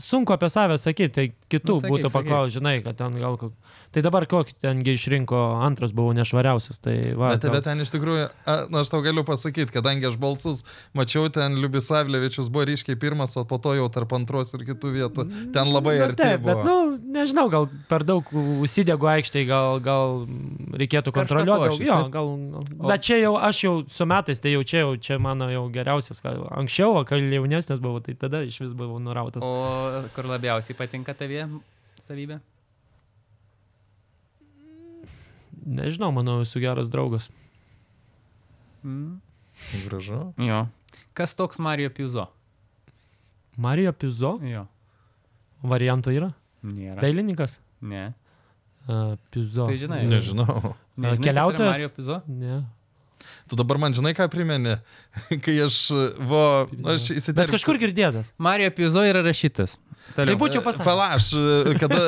Speaker 3: sunku apie save sakyti, tai
Speaker 2: Nu,
Speaker 3: kitų nu,
Speaker 2: sakyk,
Speaker 3: būtų
Speaker 2: sakyk.
Speaker 3: paklaus, žinai, kad ten gal kok... Tai dabar kokį tengi išrinko antras buvo nešvariausias, tai va.
Speaker 1: Bet,
Speaker 3: gal-
Speaker 1: bet ten iš tikrųjų, a, na, aš tau galiu pasakyti, kadangi aš balsus mačiau, ten Liubisavlevičius buvo ryškiai pirmas, o po to jau tarp antros ir kitų vietų.
Speaker 2: Mm,
Speaker 1: Ten labai
Speaker 3: Nu,
Speaker 1: arti.
Speaker 3: taip, bet,
Speaker 1: buvo.
Speaker 3: nu, nežinau, gal per daug užsidegu aikštėje, gal, gal reikėtų
Speaker 2: Karšta
Speaker 3: kontroliuoti.
Speaker 2: košis,
Speaker 3: Gal, jo,
Speaker 2: ne?
Speaker 3: gal, o... Bet čia jau, aš jau su metais, tai jau čia, jau, čia mano jau geriausias. ką- Anksčiau, o kai jaunesnis buvau, tai tada iš vis buvau nurautas. O...
Speaker 2: O kur labiausiai patinka tavyje savybė?
Speaker 3: Nežinau, manau, esu geras draugas.
Speaker 2: Mm.
Speaker 1: Gražu.
Speaker 2: Jo. Kas toks Mario Piuzo?
Speaker 3: Marijo Pizo
Speaker 2: Jo.
Speaker 3: varianto yra?
Speaker 2: Nėra.
Speaker 1: Tai-
Speaker 3: Dailininkas?
Speaker 2: Ne.
Speaker 3: Uh, Pizo.
Speaker 2: Tai žinai.
Speaker 1: Nežinau.
Speaker 2: Nežinai, kas yra
Speaker 3: Keliautojas?
Speaker 2: Mario Piuzo?
Speaker 3: Ne.
Speaker 1: Tu dabar man žinai, ką primeni, kai aš, va, aš įsitikinau.
Speaker 3: Bet kažkur girdėtas.
Speaker 2: Mario Piuzo yra rašytas.
Speaker 3: Tai būčiau pasakęs.
Speaker 1: Palaš, kada,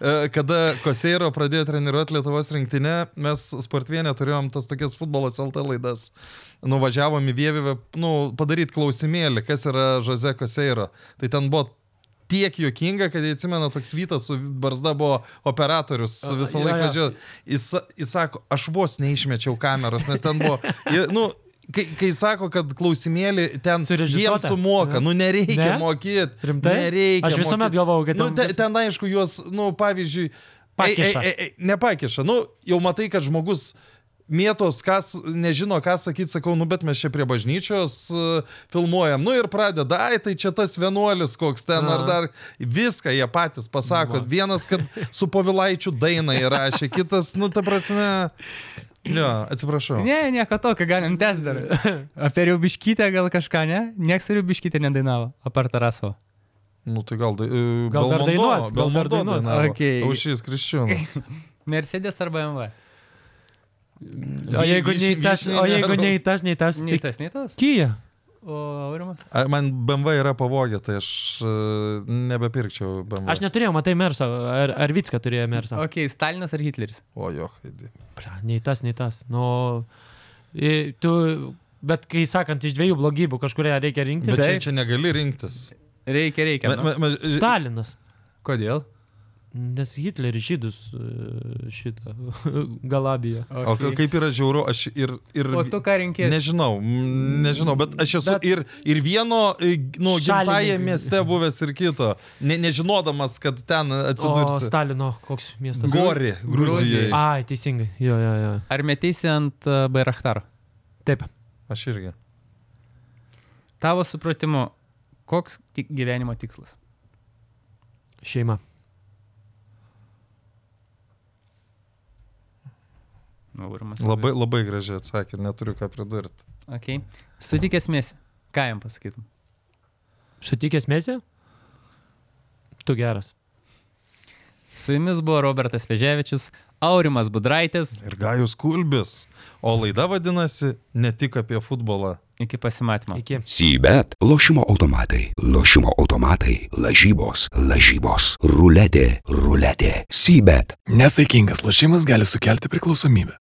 Speaker 1: e, kada Koseiro pradėjo treniruoti Lietuvos rinktinę, mes sportvienė turėjom tas tokias futbolas LT laidas. Nuvažiavom į Vievivę, nu, padaryti klausimėlį, kas yra Jose Koseiro. Tai ten buvo tiek juokinga, kad jie atsimena toks Vytas su Barzda buvo operatorius visą
Speaker 3: jo,
Speaker 1: laiką
Speaker 3: jo.
Speaker 1: važiuoja. Jis, jis sako, aš vos neišmečiau kameros, nes ten buvo... jie, Nu, Kai, kai sako, kad klausimėlį ten jiems
Speaker 3: Surežisuota?
Speaker 1: sumoka, nu nereikia
Speaker 3: Ne?
Speaker 1: mokėti.
Speaker 3: Rimtai?
Speaker 1: Nereikia.
Speaker 3: Aš visuomet
Speaker 1: mokėt.
Speaker 3: galvojau, kad
Speaker 1: nu,
Speaker 3: ten
Speaker 1: te,
Speaker 3: kažkas-
Speaker 1: ten aišku, juos, nu, pavyzdžiui,
Speaker 3: Pakiša.
Speaker 1: Ei, ei, ei, e, nepakiša. Nu, jau matai, kad žmogus mėtos, kas nežino, ką sakyti, sakau, nu, bet mes čia prie bažnyčios e, filmuojam. Nu ir pradeda, ai, tai čia tas vienuolis koks ten ar
Speaker 3: Na.
Speaker 1: dar. Viską jie patys pasako. Vienas, kad su Povilaičiu dainą įrašė, kitas, nu, ta prasme. Ne, atsiprašau.
Speaker 2: Ne, nieko tokio, galim tęsti dar. Apie Riubiškytę gal kažką, ne? Niekas Riubiškytė nedainavo, apart Tarasovo.
Speaker 1: Nu tai gal, da,
Speaker 3: Gal dar dainuos, gal dar dainuos.
Speaker 8: Okei.
Speaker 1: Aušys Kriščiūnas.
Speaker 2: Mercedes arba MV?
Speaker 3: O jeigu nei
Speaker 1: Vyšni-
Speaker 3: tas, o
Speaker 1: vyšninė
Speaker 3: jeigu
Speaker 1: ar-
Speaker 3: nei tas, nei tas,
Speaker 2: Nei
Speaker 3: tai
Speaker 2: tas, nei tas.
Speaker 3: Kyja.
Speaker 2: O Aurimas?
Speaker 1: A, Man BMW yra pavogė, tai aš e, nebepirkčiau BMW.
Speaker 3: Aš neturėjau, matai, Mersa, ar, ar Vicka turėjo Mersa.
Speaker 2: Ok, Stalinas ar Hitleris?
Speaker 1: O jo, Heidi.
Speaker 3: Bra, Nei tas, nei tas. Nu, i- tu, bet kai sakant, iš dviejų blogybių kažkuria reikia rinkti.
Speaker 1: Bet čia, čia negali rinktis.
Speaker 2: Reikia, reikia. nu.
Speaker 1: Ma- ma- ma- ži-
Speaker 3: Stalinas.
Speaker 8: Kodėl?
Speaker 3: Nes Hitleris žydus e, šitą galabijo.
Speaker 1: O ka- kaip yra žiauru, aš ir... ir
Speaker 8: O tu ką rinkėjai?
Speaker 1: Nežinau, mm, nežinau, bet aš esu bet... Ir, ir vieno, i, nu, gimtaje
Speaker 3: Šalininkai.
Speaker 1: mieste buvęs ir kito, ne, nežinodamas, kad ten
Speaker 3: O
Speaker 1: atsidursi.
Speaker 3: Stalino koks miestas?
Speaker 1: Gori, Gruzijoje.
Speaker 3: Ai, teisingai. Jo, jo, jo.
Speaker 2: Ar metėsi ant uh, Bairaktaro?
Speaker 3: Taip.
Speaker 1: Aš irgi.
Speaker 2: Tavo supratimu, koks ti- gyvenimo tikslas?
Speaker 3: Šeima.
Speaker 2: Nu, Aurimas.
Speaker 1: Labai, labai gražiai atsakė, neturiu ką pridurti.
Speaker 2: Ok. Sutikęs mėsį. Ką jam pasakytum?
Speaker 3: Sutikęs mesė? Tu geras.
Speaker 2: Su jumis buvo Robertas Veževičius, Aurimas Budraitis.
Speaker 1: Ir Gajus Kulbis. O laida vadinasi ne tik apie futbolą.
Speaker 2: Iki pasimatymo.
Speaker 3: Iki.
Speaker 9: Sybet. Lošimo automatai. Lošimo automatai. Lažybos. Lažybos. Ruletė. Ruletė. Sybet.
Speaker 10: Nesaikingas lošimas gali sukelti priklausomybę.